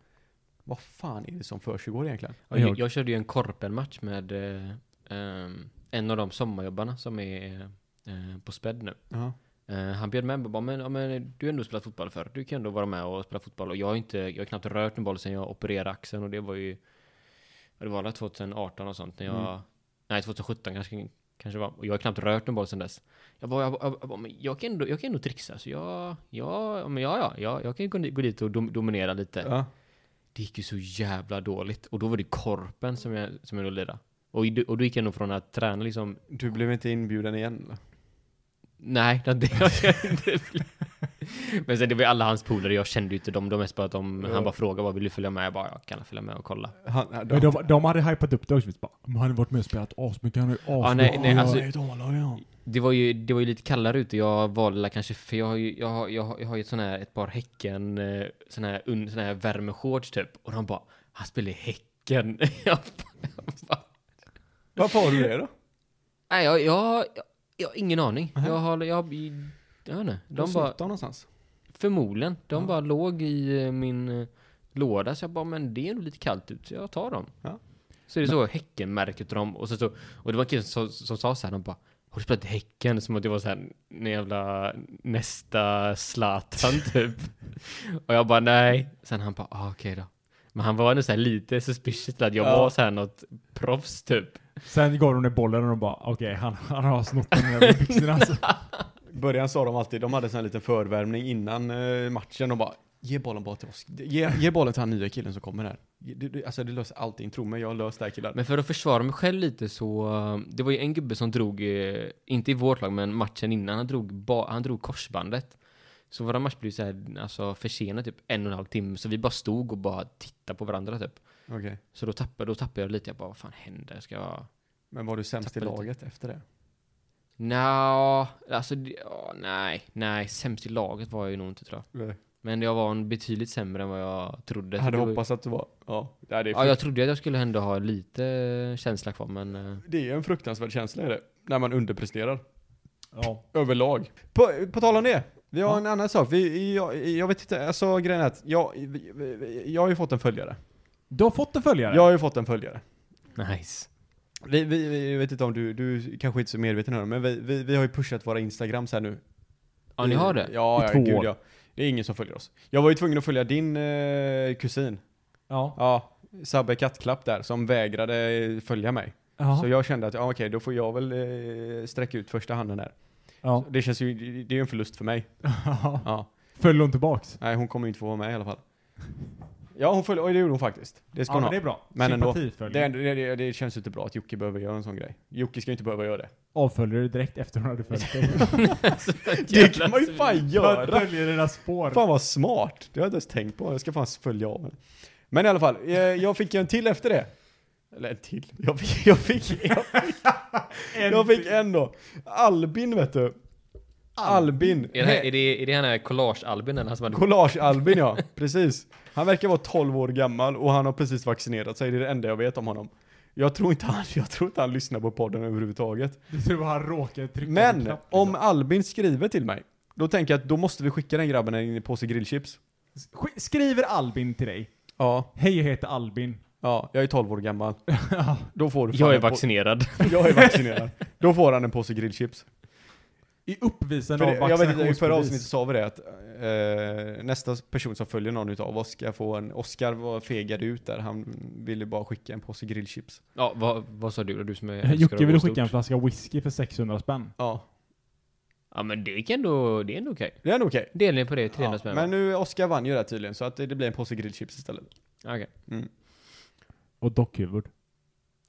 C: Vad fan är det som försiggår egentligen?
E: Och jag,
D: Jag-
E: jag körde ju en korpenmatch med eh, ehm, en av de sommarjobbarna som är eh, på spädd nu.
C: Ja.
E: Eh, han bjöd med mig och bara, men, ja, men du har ändå spelat fotboll förr. Du kan ändå vara med och spela fotboll. Och jag har, inte, jag har knappt rört en boll sedan jag opererade axeln. Och det var ju, ja, det var väl 2018 och sånt. När jag, Nej, 2017 kanske, kanske var. Och jag har knappt rört en boll sedan dess. Jag bara, jag, bara- jag, bara, men jag, kan ändå, jag kan ändå trixa. Så jag, ja, men ja, ja, jag, jag kan ju gå, dit- gå dit och dom, dominera lite.
C: Ja.
E: Det gick ju så jävla dåligt. Och då var det korpen som jag, som jag då lirade. Och, i- och då gick jag nog från att träna liksom
C: Du blev inte inbjuden igen eller?
E: Nej, det det har jag inte blivit. Men sen det var ju alla hans polare, jag kände ju inte dem. De mest bara att de,
C: Ja.
E: han bara frågade vad vill du följa med? Jag bara, jag kan följa med och kolla.
C: Han, han,
D: Men de, de hade hypat upp det också. Bara,
A: Men han har varit med och spelat asmycket, han är ju asbra.
E: Ja, nej, nej, alltså,
A: Jag är ett A-lag, ja.
E: det, var ju, det var ju lite kallare ute, jag valde kanske, för jag har ju, jag har, jag har, jag har ju ett, sån här, ett par Häcken, eh, sån här, un, sån här värmeshorts typ. Och de bara, han spelar i Häcken. Jag bara, jag bara,
C: Varför har du det då?
E: Nej, jag, jag, jag, jag har ingen aning. Jag har, jag, jag, jag vet inte. De bara,
C: någonstans.
E: Förmodligen. De bara låg i eh, min eh, låda. Så jag bara, men det är nog lite kallt ut, så jag tar dem.
C: Ja.
E: Så är det så, Häckenmärket och dem. Och, så, så, och det var en kille som, som sa så här, de bara, har du spelat i Häcken? Som att det var så här, en jävla nästa Zlatan typ. och jag bara, nej. Sen han bara, ah, okej då. Men han var ändå så här lite suspicious till att jag
C: Ja.
E: var så här något proffs typ.
D: Sen går hon i bollen och de bara, okej han, han har snott den över byxorna alltså.
C: början sa de alltid, de hade en sån här liten förvärmning innan eh, matchen och bara Ge bollen bara till oss. Ge, ge bollen till han nya killen som kommer här. Ge- Du, du, alltså det löser allting, tro mig, jag har löst det här killar.
E: Men för att försvara mig själv lite så, eh, det var ju en gubbe som drog, eh, inte i vårt lag, men matchen innan, han drog, ba, han drog korsbandet. Så våra match blev så här, alltså försenad typ en och en halv timme, så vi bara stod och bara tittade på varandra typ.
C: Okej.
E: Så då tappade, då tappade jag lite, jag bara vad fan händer? Ska jag...
C: Men var du sämst i
E: Tappade lite.
C: laget efter det?
E: Nja, alltså det- ja, nej, nej, sämst i laget var jag ju nog inte tror jag. Men jag var en betydligt sämre än vad jag trodde.
C: Jag
E: Så
C: hade
E: det var ju-
C: hoppats att du var... Ja, det är,
E: Ja, jag trodde att jag skulle ändå ha lite känsla kvar, men... eh,
C: det är en fruktansvärd känsla är det. När man underpresterar.
D: Ja.
C: Överlag. På, på tal om det. Vi har
D: Ja.
C: en annan sak. Vi, jag, jag vet inte, alltså grejen är att jag, jag har ju fått en följare.
D: Du har fått en följare?
C: Jag har ju fått en följare.
E: Nice.
C: Vi, vi, vi jag vet inte om du, du kanske inte är så medveten om det, men vi, vi, vi har ju pushat våra Instagrams här nu.
E: Ja, ni har det?
C: Ja,
D: I
C: ja
D: två
C: gud
D: år.
C: ja. Det är ingen som följer oss. Jag var ju tvungen att följa din eh, kusin.
D: Ja.
C: Ja, Sabbe Kattklapp där, som vägrade eh, följa mig.
D: Jaha.
C: Så jag kände att, ja okej, då får jag väl eh, sträcka ut första handen här.
D: ja.
C: Det känns ju, det är ju en förlust för mig. Ja.
D: Föll hon tillbaks?
C: Nej, hon kommer ju inte få vara med i alla fall. Ja, hon följer, oj det gjorde hon faktiskt. Det ska
D: Ja, men
C: hon ha.
D: det är bra.
C: Men ändå.
D: Sympatifölj.
C: Det, det, det, det känns ju inte bra att Jocke behöver göra en sån grej. Jocke ska ju inte behöva göra det.
D: Avföljer du direkt efter hon hade följt dig.
C: Det kan man ju fan göra!
D: Följer dina spår.
C: Fan vad smart! Det har jag inte ens tänkt på. Jag ska fan följa av henne. Men i alla fall, eh, jag fick ju en till efter det. Eller en till? Jag fick, jag fick, jag fick, jag fick en då. Albin vet du. Albin.
E: Är det, här, är det, är det han här collage-Albin eller han som hade...
C: Collage-Albin ja, precis. Han verkar vara 12 år gammal och han har precis vaccinerat sig. Det är det enda jag vet om honom. Jag tror inte han, jag tror inte han lyssnar på podden överhuvudtaget.
D: Du tror han råkade trycka på en
C: Men
D: knapp,
C: om
D: liksom.
C: Albin skriver till mig, då tänker jag att då måste vi skicka den grabben en påse grillchips.
D: liksom. Sk- Skriver Albin till dig?
C: Ja,
D: Hej, jag heter Albin.
C: Ja, jag är 12 år gammal. Då får du fan
E: Jag är
C: en på-
E: vaccinerad.
C: Jag är vaccinerad. Då får han en påse grillchips.
D: I uppvisande
C: För
D: av
C: det, jag vet inte, i
D: vaccinationsbevis.
C: förra avsnittet sa vi det att eh, nästa person som följer någon utav oss ska få en, Oscar var fegad ut där, han ville bara skicka en påse grillchips.
E: Ja, vad, vad sa du då? Du som är älskar att
D: Jocke
E: gå
D: ville
E: stort.
D: skicka en flaska whisky för 600 spänn.
C: Ja,
E: Ja, men det gick ändå... Det är ändå okej.
C: det är nog okej.
E: Delning på det är 300
C: Ja,
E: spänn.
C: men nu, Oscar vann ju där tydligen, så att det, det blir en påse grillchips istället.
E: Okej.
D: Och dockhuvud.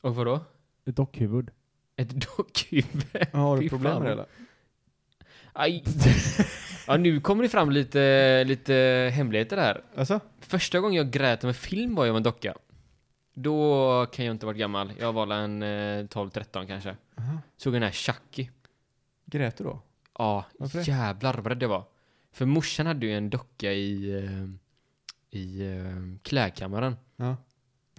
E: Och vadå?
D: Ett dockhuvud.
E: Ett dockhuvud?
C: har
E: Fy
C: du problem
E: fan.
C: med det eller?
E: Aj! Ja, nu kommer det fram lite, lite hemligheter här.
C: Alltså?
E: Första gången jag grät om en film var jag var en docka. Då kan jag inte ha varit gammal. Jag var väl en eh, 12-13 kanske. Såg den här Chucky.
C: Grät du då?
E: Ja,
C: Varför det?
E: jävlar vad rädd jag var. För morsan hade ju en docka i, eh, i eh, klädkammaren.
C: Ja.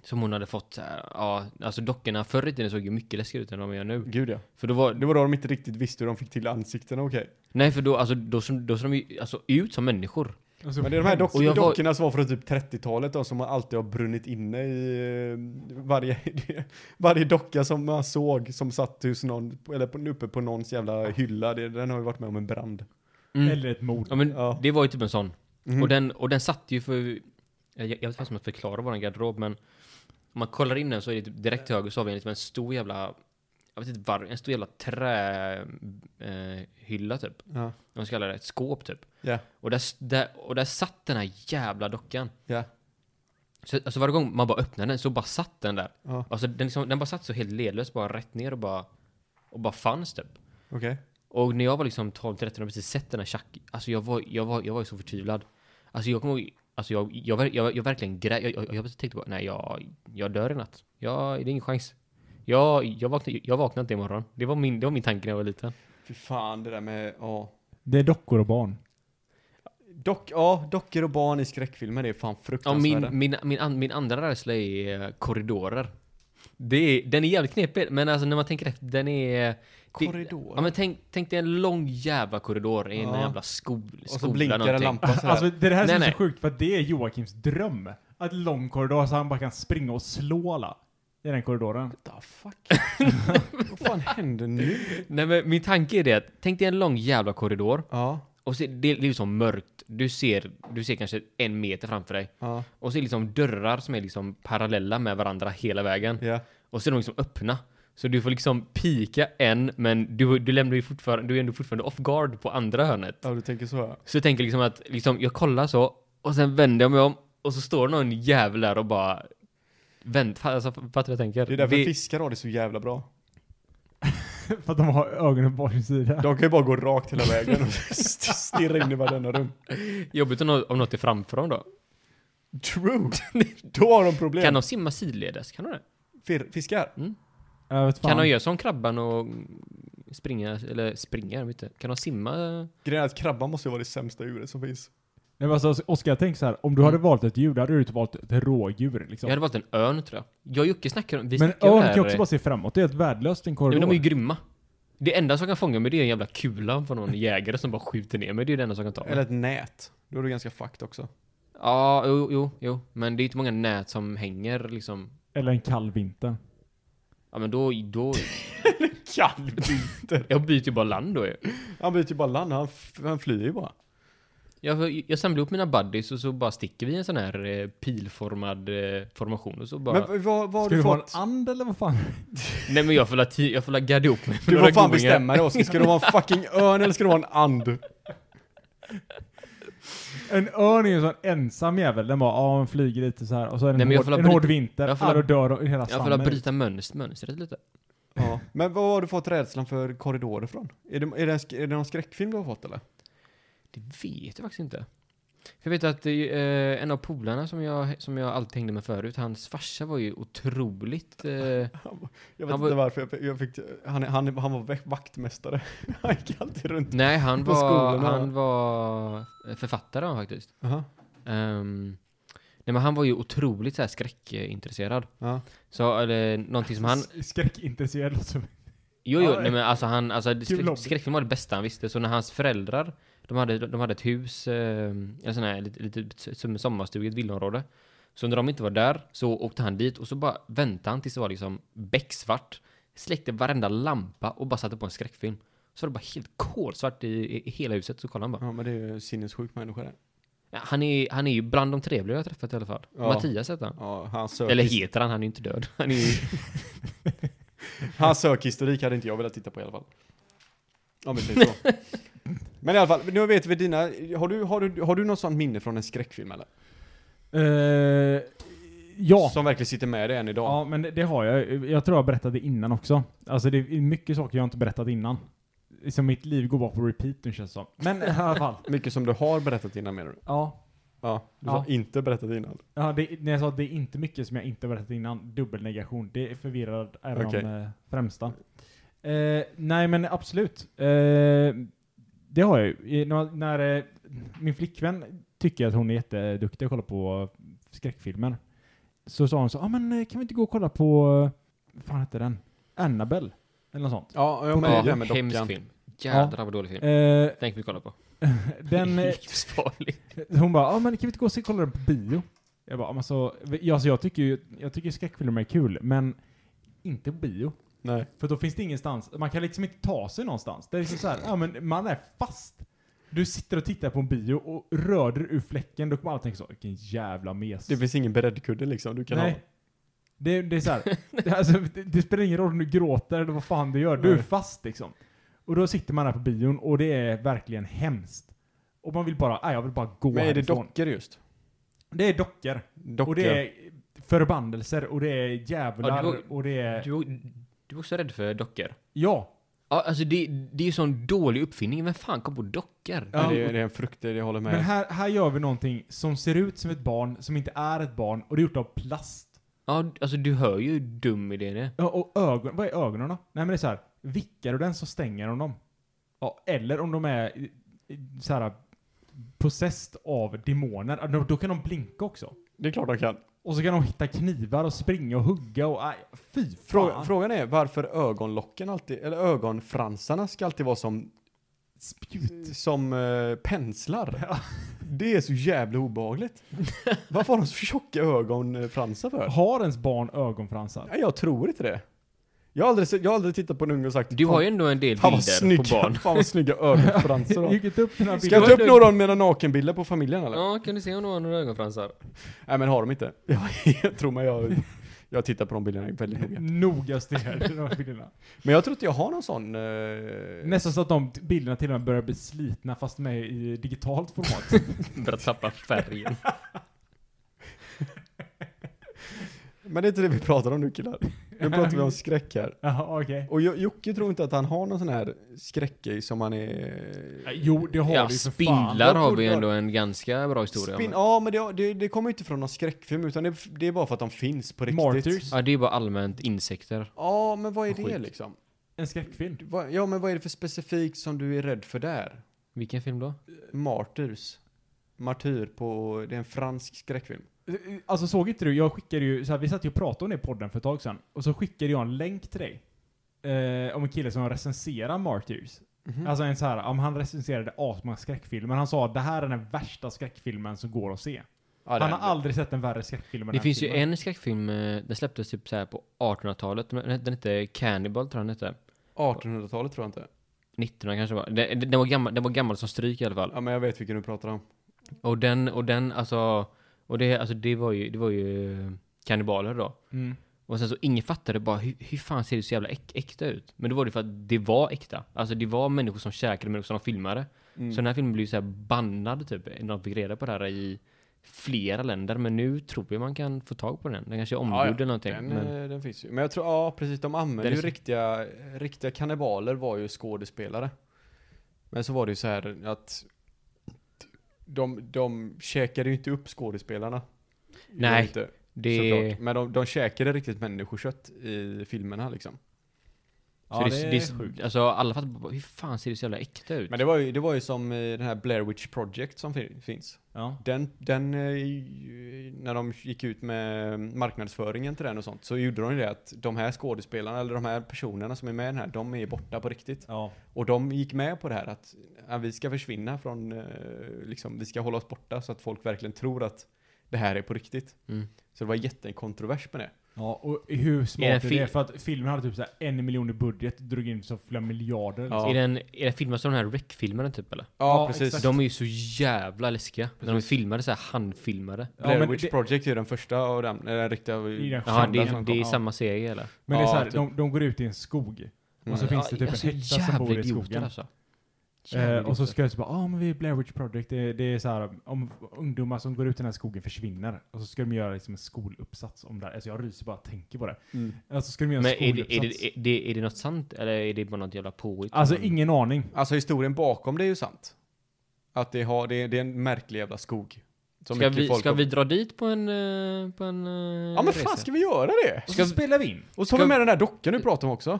E: Som hon hade fått så här, ja, alltså dockorna förr i tiden såg ju mycket läskigare ut än vad de gör nu.
C: Gud ja.
E: För då var,
C: Det var då de inte riktigt visste hur de fick till ansiktena, okej.
E: nej för då, alltså då såg då såg de ju alltså, ut som människor.
D: Alltså,
C: Men det är de här dock-
E: Och jag var-
C: dockorna som var från typ 30-talet då, som alltid har brunnit inne i eh, varje, varje docka som man såg som satt hos någon, eller på, uppe på någons jävla hylla, det, den har ju varit med om en brand. Mm.
D: Eller ett mord.
E: Ja men
C: Ja.
E: det var ju typ en sån.
C: Mhm.
E: Och, den, och den satt ju för, jag, jag vet inte om jag förklarar våran garderob men om man kollar in den så är det typ direkt till höger så har vi en, liksom en stor jävla, jag vet inte varför, en stor jävla trähylla eh, hylla typ.
C: Ja.
E: Om man ska kalla det, ett skåp typ.
C: Ja.
E: Och där, s- där, och där satt den här jävla dockan.
C: Ja.
E: Så, alltså varje gång man bara öppnade den så bara satt den där.
C: Ja.
E: Alltså den, liksom, den bara satt så helt ledlöst bara rätt ner och bara, och bara fanns typ.
C: Okej.
E: Och när jag var liksom 12-13 och precis sett den här Chucky, alltså jag var, jag var, jag var ju så förtvivlad. Alltså jag kommer ihåg- alltså jag, jag, ver- jag, jag verkligen grät, jag, jag, jag tänkte bara nej jag, jag dör i natt. Jag, det är ingen chans. Jag, jag, vaknar, jag vaknar inte imorgon. Det var, min, det var min tanke när jag var liten.
C: Fy fan det där med, ja.
D: Det är dockor och barn.
C: Dock, ja, dockor och barn i skräckfilmer det är fan
E: Ja,
C: fruktansvärda.
E: min, min, min, an, min andra rädsla är eh, korridorer. Det är, den är jävligt knepig, men alltså när man tänker efter, den är... det-
C: Korridor.
E: Ja men tänk, tänk dig en lång jävla korridor i en
C: Ja.
E: jävla skol, skola.
C: och så blinkar en
E: någonting.
C: lampa sådär.
D: Alltså det här
E: Nej,
D: är
E: nej.
D: så sjukt för att det är Joakims dröm. Att lång korridor så han bara kan springa och slå alla. I den korridoren.
C: What the fuck? Vad fan händer nu?
E: Nej men min tanke är det att, tänk dig en lång jävla korridor.
C: Ja,
E: Och så, det är liksom mörkt. Du ser, du ser kanske en meter framför dig.
C: ja,
E: Och så är det liksom dörrar som är liksom parallella med varandra hela vägen.
C: ja.
E: Och så är de liksom öppna. Så du får liksom pika en, men du, du lämnar ju fortfarande, du är ändå fortfarande off guard på andra hörnet.
C: Ja, du tänker så. ja.
E: Så jag tänker liksom att liksom, jag kollar så och sen vänder jag mig om och så står någon jävel där och bara vänt, fa- alltså, fattar du vad jag tänker?
C: Det är därför
E: Vi-
C: fiskar har det så jävla bra.
D: För att de har ögonen på varsin sida.
C: De kan ju bara gå rakt hela vägen och st- stirra in i varenda rum.
E: Jobbigt om, nå- om något är framför dem då.
C: True! Då har de problem.
E: Kan de simma sidledes? Kan de det?
C: Fir- fiskar?
D: Jag vet fan.
E: Kan de göra som krabban och springa, eller springa, jag vet inte. Kan de simma?
C: Grejen är att krabban måste ju vara det sämsta djuret som finns.
D: Nej, men alltså, Oskar, jag tänker så här. Om du
E: Mm.
D: hade valt ett djur, då hade du inte valt ett rådjur.
E: Jag
D: Liksom.
E: hade valt en örn tror jag. Jag och Jocke snackar om, vi
D: Men
E: snackar om
D: örn
E: det
D: kan
E: här.
D: ju också bara se framåt. Det är helt värdelöst i en
E: Nej,
D: korridor.
E: men de är ju grymma. Det enda som kan fånga mig det är en jävla kula från någon jägare som bara skjuter ner mig. Det är ju det enda som kan ta mig.
C: Eller ett nät. Då är du ganska fucked också.
E: Ja, jo, jo, jo. Men det är inte många nät som hänger liksom.
D: Eller en kall vinter.
E: Ja men då, då,
C: Kalvvinter.
E: jag byter ju bara land då ju.
C: Han byter ju bara land, han, f- han flyr ju bara.
E: Jag, jag samlar upp mina buddies och så bara sticker vi i en sån här eh, pilformad eh, formation och så bara...
C: Men v- vad, vad har
D: Ska
C: du
D: du vara en
C: fått?
D: and eller vad fan?
E: nej men jag får la, ti- jag får la gadda ihop mig med
C: Du
E: några
C: får fan
E: goingar.
C: bestämma dig Oskar, ska du vara en fucking örn eller ska du vara en and?
D: En örn är ju en sån ensam jävel. Den bara, ja, den flyger lite så här. Och så är det
E: Nej,
D: en,
E: men jag
D: hård,
E: får la
D: en hård
E: bryta-
D: vinter.
E: jag får
D: Ja,
E: la-
D: då dör hela
E: Jag får la
D: stammen.
E: bryta mönstret, mönstret lite.
C: Ja. Men vad har du fått rädslan för korridorer från? Är det, är, det en, sk- är det någon skräckfilm du har fått eller?
E: Det vet jag faktiskt inte. För jag vet att eh, en av polarna som jag, som jag alltid hängde med förut, hans farsa var ju otroligt... Eh,
C: Jag vet
E: Han var-
C: inte varför, jag, fick- jag fick, han, han, han var vä- vaktmästare. Han gick alltid runt.
E: nej, han
C: På
E: var,
C: skolorna.
E: han var författare han faktiskt.
C: Aha.
E: Ehm, nej men han var ju otroligt så här skräckintresserad.
C: Ja.
E: Så, eller någonting som han...
D: Skräckintresserad låter som...
E: Jo, jo,
D: Ja,
E: nej men alltså han, alltså
D: Kul
E: skräck,
D: lobby.
E: skräckfilm var det bästa han visste. Så när hans föräldrar, de hade, de hade ett hus, eh, en sån här lite, lite som en sommarstuga, ett villaområde. Så när de inte var där så åkte han dit och så bara väntade han tills det var liksom becksvart. Släckte varenda lampa och bara satte på en skräckfilm. Så var det bara helt kolsvart i, i, i hela huset. Så kollade han bara.
C: ja, men det är ju en sinnessjuk människa det.
E: Ja, han, är, han är ju bland de trevliga jag har träffat i alla fall.
C: Ja.
E: Mattias heter han.
C: Ja, han sök,
E: Eller heter han, han är ju inte död. Han är ju,
C: Hans sökhistorik hade inte jag velat titta på i alla fall. Om vi säger så. Men i alla fall, nu vet vi dina, har du, har du, har du något sånt minne från en skräckfilm eller?
D: Eh, ja.
C: Som verkligen sitter med dig än idag?
D: Ja, men det- det har jag. Jag tror jag berättade innan också. Alltså det är mycket saker jag inte berättat innan. Som mitt liv går bara på repeat nu känns det som. Men i alla fall.
C: Mycket som du har berättat innan menar du?
D: Ja.
C: Ja, du
D: Ja.
C: har inte berättat innan.
D: ja det, när jag sa att det är inte mycket som jag inte berättat innan, dubbelnegation. Det är förvirrad är
C: Okej.
D: de eh, främsta. Eh, nej men absolut. Eh, det har jag ju. Eh, När, när eh, min flickvän tycker att hon är jätteduktig och kollar på skräckfilmer. Så sa hon så, ja ah, men eh, kan vi inte gå och kolla på, eh, vad fan heter den? Annabelle? Eller något sånt.
C: Ja, jag
E: ja,
C: med, ja, med
E: hemsk
C: dockan.
E: film. Jädrar vad dålig film.
D: Eh,
E: Den kan vi kolla på.
D: den, eh,
E: Livsfarlig.
D: hon bara, ah, men kan vi inte gå och se, kolla den på bio? Jag bara, ah, men så, ja, så jag tycker ju jag tycker skräckfilmer är kul, men inte på bio.
C: Nej.
D: För då finns det ingenstans, man kan liksom inte ta sig någonstans. Det är liksom så här, ja men man är fast. Du sitter och tittar på en bio och rör dig ur fläcken, då kommer alla tänka så, vilken jävla mes.
C: Det finns ingen beredkudde liksom du kan
D: Nej. Det, det är så här, det, alltså, det, det spelar ingen roll om du gråter eller vad fan du gör, du är
C: Nej.
D: fast liksom. Och då sitter man där på bion och det är verkligen hemskt. Och man vill bara, nej jag vill bara gå
C: ha. Men är det
D: härifrån.
C: dockor just?
D: Det är dockor.
C: Dockor?
D: Och det är förbandelser och det är djävlar
E: Ja, det var-
D: och det är...
E: Du, du är också rädd för dockor?
D: Ja.
E: Eh. Ja, alltså det, det är ju sån dålig uppfinning. Vem fan kom på dockor?
C: Ja. Det, är, det är en frukt, det jag håller med.
D: Men här, här gör vi någonting som ser ut som ett barn, som inte är ett barn och det är gjort av plast.
E: Ja, alltså du hör ju hur dum idé det är.
D: Ja, och ögon, vad är ögonen då? Nej men det är så här, vickar du den så stänger de dem. Ja, eller om de är i- i- så här possessed av demoner, ja, då, då kan de blinka också.
C: det är klart de kan.
D: Och så kan de hitta knivar och springa och hugga och aj, fy fan.
C: Frå, Frågan är varför ögonlocken alltid, eller ögonfransarna ska alltid vara som,
D: Spjut.
C: som eh, penslar. Det är så jävla obehagligt. Varför har de så tjocka ögonfransar för?
D: Har ens barn ögonfransar?
C: Nej, jag tror inte det. Jag har aldrig, sett- jag har aldrig tittat på en unge och sagt
E: Du har ju ändå en del
C: fan vad
E: bilder
C: snygga,
E: på barn.
C: fan vad snygga ögonfransar då.
D: Hugget upp den här
C: Ska
D: bilden.
C: jag ta upp några av mina nakenbilder på familjen eller?
E: Ja, kan du se om du har några ögonfransar?
C: Nej men har de inte? Jag, jag tror mig, jag, Jag tittar på de bilderna väldigt noga.
D: Noga stirrade de här bilderna.
C: Men jag tror inte jag har någon sån... eh,
D: Nästan så att de t- bilderna till och med börjar bli slitna fast med i digitalt format.
E: Börjar tappa färgen.
C: Men det är inte det vi pratar om nu killar. Nu pratar vi om skräck här.
D: Jaha, okej.
C: Och Jo- Jocke tror inte att han har någon sån här skräckig som han är...
D: Jo, det har
E: Ja,
D: vi ju för
E: spindlar
D: fan.
E: har vi ju ändå en ganska bra historia
C: Spin-
E: om.
C: ja, men det, det, det kommer ju inte från någon skräckfilm utan det, det är bara för att de finns på riktigt.
D: Martyrs.
E: Ja, det är ju bara allmänt insekter.
C: Ja, men vad är det
E: Skit.
C: liksom?
D: En skräckfilm.
C: Vad- Ja, men vad är det för specifikt som du är rädd för där?
E: Vilken film då?
C: Martyrs. Martyr på... Det är en fransk skräckfilm.
D: Alltså såg inte du? Jag skickade ju, så här, vi satt ju och pratade om det i podden för ett tag sedan. Och så skickade jag en länk till dig. Eh, om en kille som recenserar Martyrs.
C: Mm.
D: Alltså en så här, om han recenserade asmånga skräckfilmer. Han sa det här är den värsta skräckfilmen som går att se.
C: Ja,
D: han
C: den-
D: har aldrig sett en värre skräckfilm än
E: Det
D: den
E: finns ju
D: filmen.
E: en skräckfilm, eh, den släpptes typ så här på 1800-talet. Den den hette Cannibal tror jag den hette.
C: 1800-talet tror jag inte.
E: 1900 kanske var. Den, den, var gammal, den var gammal som stryk i alla fall.
C: Ja, men jag vet vilken du pratar om.
E: Och den, och den alltså, och det, alltså det var ju, det var ju eh, kannibaler då.
D: Mm.
E: Och sen så ingen fattade bara hur, hur fan ser det så jävla äk, äkta ut? Men det var det för att det var äkta. Alltså det var människor som käkade människor som de filmade.
C: Mm.
E: Så den här filmen blev ju så här bannad typ. När de fick reda på det här i flera länder. Men nu tror jag man kan få tag på den. Den kanske är omgjord eller någonting.
C: Den,
E: men...
C: eh, den finns ju. Men jag tror, ja precis, de använde
E: Den är
C: ju
E: så-
C: riktiga, riktiga kannibaler var ju skådespelare. Men så var det ju så här att de, de käkade ju inte upp skådespelarna. Gjorde
E: Nej,
C: de inte,
E: Det,
C: såklart. Men de, de käkade riktigt människokött i filmerna liksom.
E: så
D: Ja,
E: det, det, är sjukt. Alltså alla fattar bara, hur fan ser det så jävla äkta ut?
C: Men det var ju, det var ju som i den här Blair Witch Project som fin- finns.
D: Ja.
C: Den, den, eh, ju- när de gick ut med marknadsföringen till den och sånt så gjorde de ju det att de här skådespelarna eller de här personerna som är med i den här, de är borta på riktigt.
D: ja.
C: Och de gick med på det här att ja, vi ska försvinna från, eh, liksom, vi ska hålla oss borta så att folk verkligen tror att det här är på riktigt.
E: Mm.
C: Så det var jättekontrovers med det.
D: Ja, och hur smart
E: Är det
D: är det?
E: fil-
D: För att filmen hade typ så här en miljon i budget, drog in så flera miljarder.
C: Ja.
E: Är den, är den filmad som den här Rec-filmen typ eller?
C: Ja,
D: Ja,
C: precis.
D: exakt.
E: De är ju så jävla läskiga. När de är
C: Precis.
E: filmade så här handfilmade.
C: Blair
D: men
C: Witch
D: det-
C: Project är den första av den, eller den riktiga.
D: I den
E: Jaha,
D: kända
E: det,
D: som
E: det är
D: kom.
E: samma serie eller?
D: Men det är
C: Ja,
D: så här,
C: typ.
D: de, de går ut i en skog. Och så
C: Mm.
D: finns det typ
E: Alltså,
D: en häxa som
E: jävla
D: bor i
E: idioter,
D: skogen.
E: Alltså. Jävla
D: Eh, och så
E: idioter.
D: ska jag typ bara, ah, men vi är Blair Witch Project, det, det är så här om ungdomar som går ut i den här skogen försvinner. Och så ska de göra liksom en skoluppsats om det här. Alltså jag ryser bara jag tänker på det.
C: Mm.
D: Alltså ska de göra en
E: Men är det,
D: skoluppsats.
E: är, det, är, det, är det något sant eller är det bara något jävla påhitt?
D: alltså
E: Men-
D: ingen aning.
C: Alltså historien bakom det är ju sant. Att det, har, det, är, det är en märklig jävla skog. Som
E: Ska
C: mycket
E: vi,
C: folk
E: ska
C: har-
E: vi dra dit på en, eh, på en
C: Ja men fan ska vi göra det?
D: Och så
E: Ska-
D: spelar vi in.
C: Och så tar
E: Ska-
C: vi med den här dockan du pratade om också.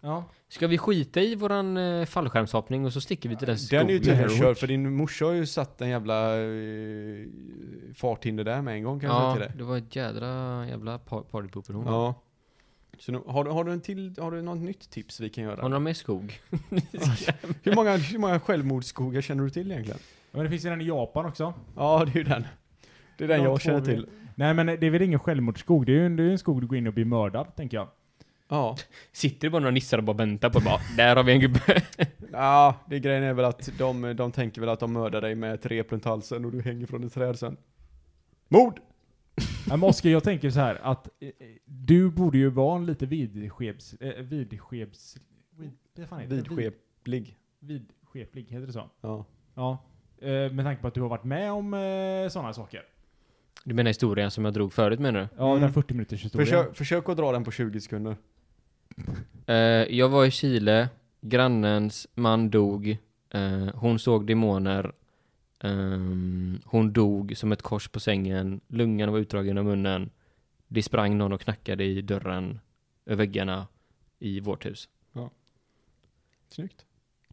D: Ja.
E: Ska vi skita i våran eh, fallskärmshoppning och så sticker vi till den skogen?
C: Den är ju
D: Skogen.
C: tydligen körd för din morsa har ju satt en jävla eh, farthinder där med en gång kan jag säga
E: Ja,
C: till dig.
E: det var ett jädra jävla par- partypooper hon var.
C: Ja. Så nu, har, du, har, du en till, har du något nytt tips vi kan
E: Har
C: göra?
E: några mer skog?
C: Hur många, hur många självmordsskogar känner du till egentligen?
D: Men det finns ju den i Japan också.
C: Ja, det är ju den. Det är den
D: De
C: jag
D: två
C: känner
D: vi-
C: till.
D: Nej men det är väl ingen självmordsskog, det är ju en, det är ju en skog du går in och blir mördad, tänker jag.
C: Ja.
E: Sitter det bara några nissar och bara väntar på bara, där har vi en gubbe.
C: ja, det grejen är väl att de, de tänker väl att de mördar dig med ett rep runt halsen och du hänger från ett träd sen. Mord!
D: Ja, men Oskar, jag tänker så här att eh, eh, du borde ju vara en lite vidskebs... Eh, vidskebs... Vid, vad fan heter det?
C: Vidskeplig.
D: Vid, vidskeplig, heter det så?
C: Ja.
D: Ja. Eh, med tanke på att du har varit med om eh, sådana saker.
E: Du menar historien som jag drog förut menar du?
D: Ja,
C: Mm.
D: den 40 minuters historien.
C: Försök, försök att dra den på 20 sekunder.
E: Eh, jag var i Chile, grannens man dog, eh, hon såg demoner, ehm, hon dog som ett kors på sängen, lungan var utdragen ur munnen, det sprang någon och knackade i dörren, över väggarna i vårt hus.
C: Snyggt.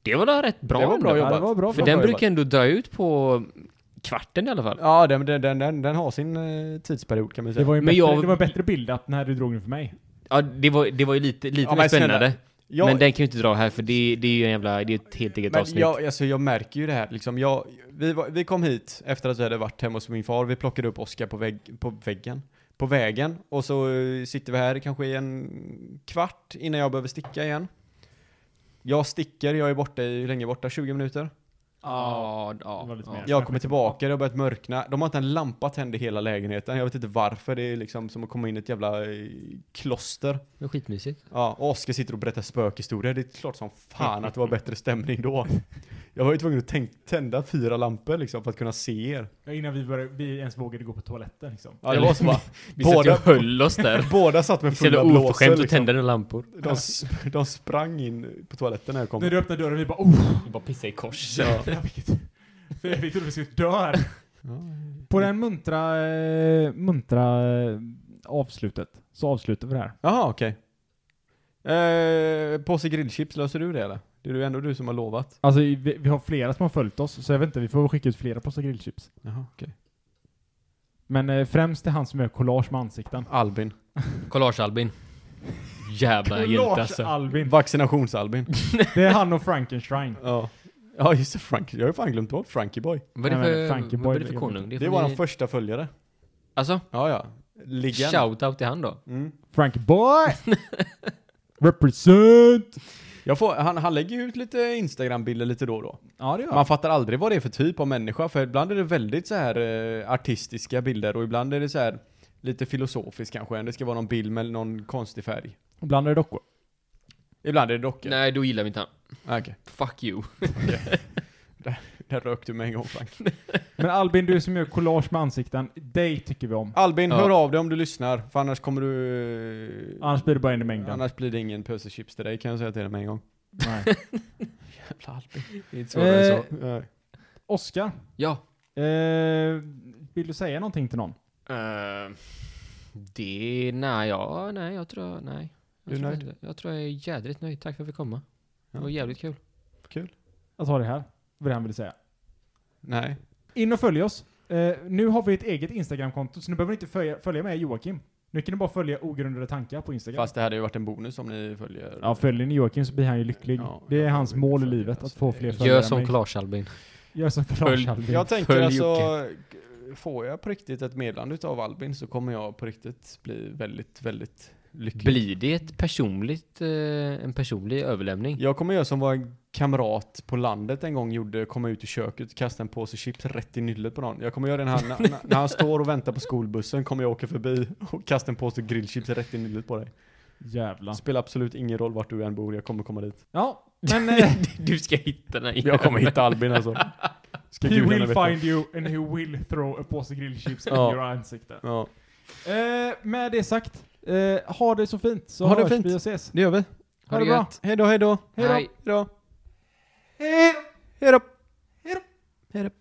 E: Det var da rätt bra
C: det var bra
E: ändå.
D: Ja,
C: jobbat.
D: det var bra
E: För
D: jobbat.
E: den
C: jobbat.
E: brukar ändå dö ut på kvarten i alla fall.
C: Ja, den, den, den, den, den har sin eh, tidsperiod kan man
D: Det
C: säga.
D: var ju en
E: Men
D: bättre,
E: jag-
D: det var en bättre bild att när du drog den för mig.
E: Ja, det var, det var ju lite, lite
C: Ja,
E: mer
C: men snälla.
E: spännande.
C: Jag-
E: Men den kan ju inte dra här för det, det är ju en jävla, det är ett helt eget
C: Men
E: avsnitt.
C: jag, alltså jag märker ju det här, liksom jag, vi, var, vi kom hit efter att vi hade varit hemma hos min far, vi plockade upp Oskar på, vägg, på väggen, på vägen, och så eh, sitter vi här kanske i en kvart innan jag behöver sticka igen. Jag sticker, jag är borta i, hur länge borta? 20 minuter?
D: Ja,
F: Ja, ja.
D: det var lite
F: ja.
D: mer.
C: Jag kommer tillbaka, det har börjat mörkna. De har inte en lampa tänd i hela lägenheten. Jag vet inte varför. Det är liksom som att komma in i ett jävla eh, kloster.
E: Det var skitmysigt.
C: Ja, och Oskar sitter och berättar spökhistorier. Det är klart som fan att det var bättre stämning då. Jag var ju tvungen att tänk- tända fyra lampor liksom för att kunna se er.
D: Ja, Innan vi, började, vi ens vågade gå på toaletten liksom.
C: Ja, det var så bara.
E: Vi satt ju
C: Båda-
E: och höll oss där.
C: Båda satt med
E: Så jävla
C: fulla blåsor.
E: oförskämt och
C: Liksom.
E: tända några lampor.
C: De, sp- de sprang in på toaletten när jag kom.
D: När du öppnade dörren vi bara oh!
E: Vi bara pissade i kors.
D: Ja, vilket, för vi trodde vi skulle dö här. På den muntra, eh, muntra eh, avslutet så avslutar vi det här.
C: Jaha, okej. Eh, påse grillchips, löser du det eller? Det är ju ändå du som har lovat.
D: Alltså vi, vi har flera som har följt oss så jag vet inte, vi får skicka ut flera påsar grillchips.
C: Jaha, okej.
D: Men eh, främst är han som gör collage med ansikten.
C: Albin.
E: Collage-Albin. Jävla hjälte alltså.
D: Albin.
C: Vaccinations-Albin.
D: Det är han och Frankenstein.
C: ja. Ja, just det. Frank. Jag har ju fan glömt bort Frankie Boy.
E: Vad är
D: Nej, men
E: det
D: Frankie
E: för, vad
D: Boy
E: är det för
D: lägger
E: konung?
C: Det
E: får
C: är våran
E: ni-
C: första följare.
E: Alltså,
C: Ja, ja. Legend.
E: shout-out till han då.
C: Mm.
D: Frank boy! Represent!
C: Jag får, han, han lägger ju ut lite Instagram-bilder lite då och då.
D: Ja det gör
C: Man
D: han.
C: fattar aldrig vad det är för typ av människa, för ibland är det väldigt så här eh, artistiska bilder och ibland är det så här lite filosofiskt kanske. Det ska vara någon bild med någon konstig färg.
D: Ibland är det dockor.
C: Ibland är det dockor. Ah,
E: Nej, då gillar vi inte han.
C: Okej.
E: Fuck you.
C: Där rök du med en gång Frank.
D: Men Albin, du som gör collage med ansikten, dig tycker vi om.
C: Albin,
E: Ja.
C: hör av dig om du lyssnar, för annars kommer du... eh,
D: Annars blir det bara en i mängden.
C: Annars blir det ingen pöse chips till dig kan jag säga till dig med en gång.
D: Nej.
C: Jävla Albin.
E: Det är inte
D: svårare än så.
C: Nej.
D: Oskar,
E: Ja.
D: eh, vill du säga någonting till någon?
E: Eh, det... Nej, ja, nej, jag tror... Nej. Jag
C: Du är
E: tror
C: nöjd?
E: inte det. Jag tror jag är jädrigt nöjd. Tack för att vi fick komma. Det var
C: Ja.
E: jävligt kul.
D: Jag tar Alltså, det här. Vad det han ville säga.
C: Nej.
D: In och följ oss. Eh, nu har vi ett eget Instagramkonto, så nu behöver ni inte följa, följa med Joakim. Nu kan ni bara följa ogrundade tankar på Instagram.
C: Fast det hade ju varit en bonus om ni följer...
D: Ja, följer ni Joakim så blir han ju lycklig.
C: Ja,
D: det är
C: jag
D: hans
C: vill
D: mål i
C: följa,
D: livet, att
C: alltså,
D: få
C: det-
D: fler följare
E: Gör
D: än
E: som
D: mig.
E: Clash-Albin.
D: Gör som
E: Följ-
D: Clash Albin.
C: Jag tänker
E: Följ
C: alltså, får jag på riktigt ett meddelande utav Albin så kommer jag på riktigt bli väldigt, väldigt lycklig.
E: Blir det ett personligt, eh, en personlig överlämning?
C: Jag kommer göra som vår kamrat på landet en gång gjorde, komma ut i köket, kasta en påse chips rätt i nyllet på någon. Jag kommer göra det när han, när- när han står och väntar på skolbussen, kommer jag åka förbi och kasta en påse grillchips rätt i nyllet på dig.
D: Jävlar.
C: Spelar absolut ingen roll vart du än bor, jag kommer komma dit.
D: Ja, men... Eh,
E: Du ska hitta den här
C: Jag kommer hitta Albin alltså. Ska
D: he
C: gudarna
D: will
C: veta.
D: find you and he will throw a påse grillchips in
C: Ja.
D: your ansikte.
C: Ja,
D: Eh, med det sagt, eh, ha det så fint så
C: Ha det
D: hörs
C: fint.
D: vi och ses.
C: det gör vi.
E: Ha det
D: bra.
E: gött.
C: Hej då, hej då.
E: Hej.
C: Hej då.
D: Hej!
C: Hej då. Hej då. Hej då.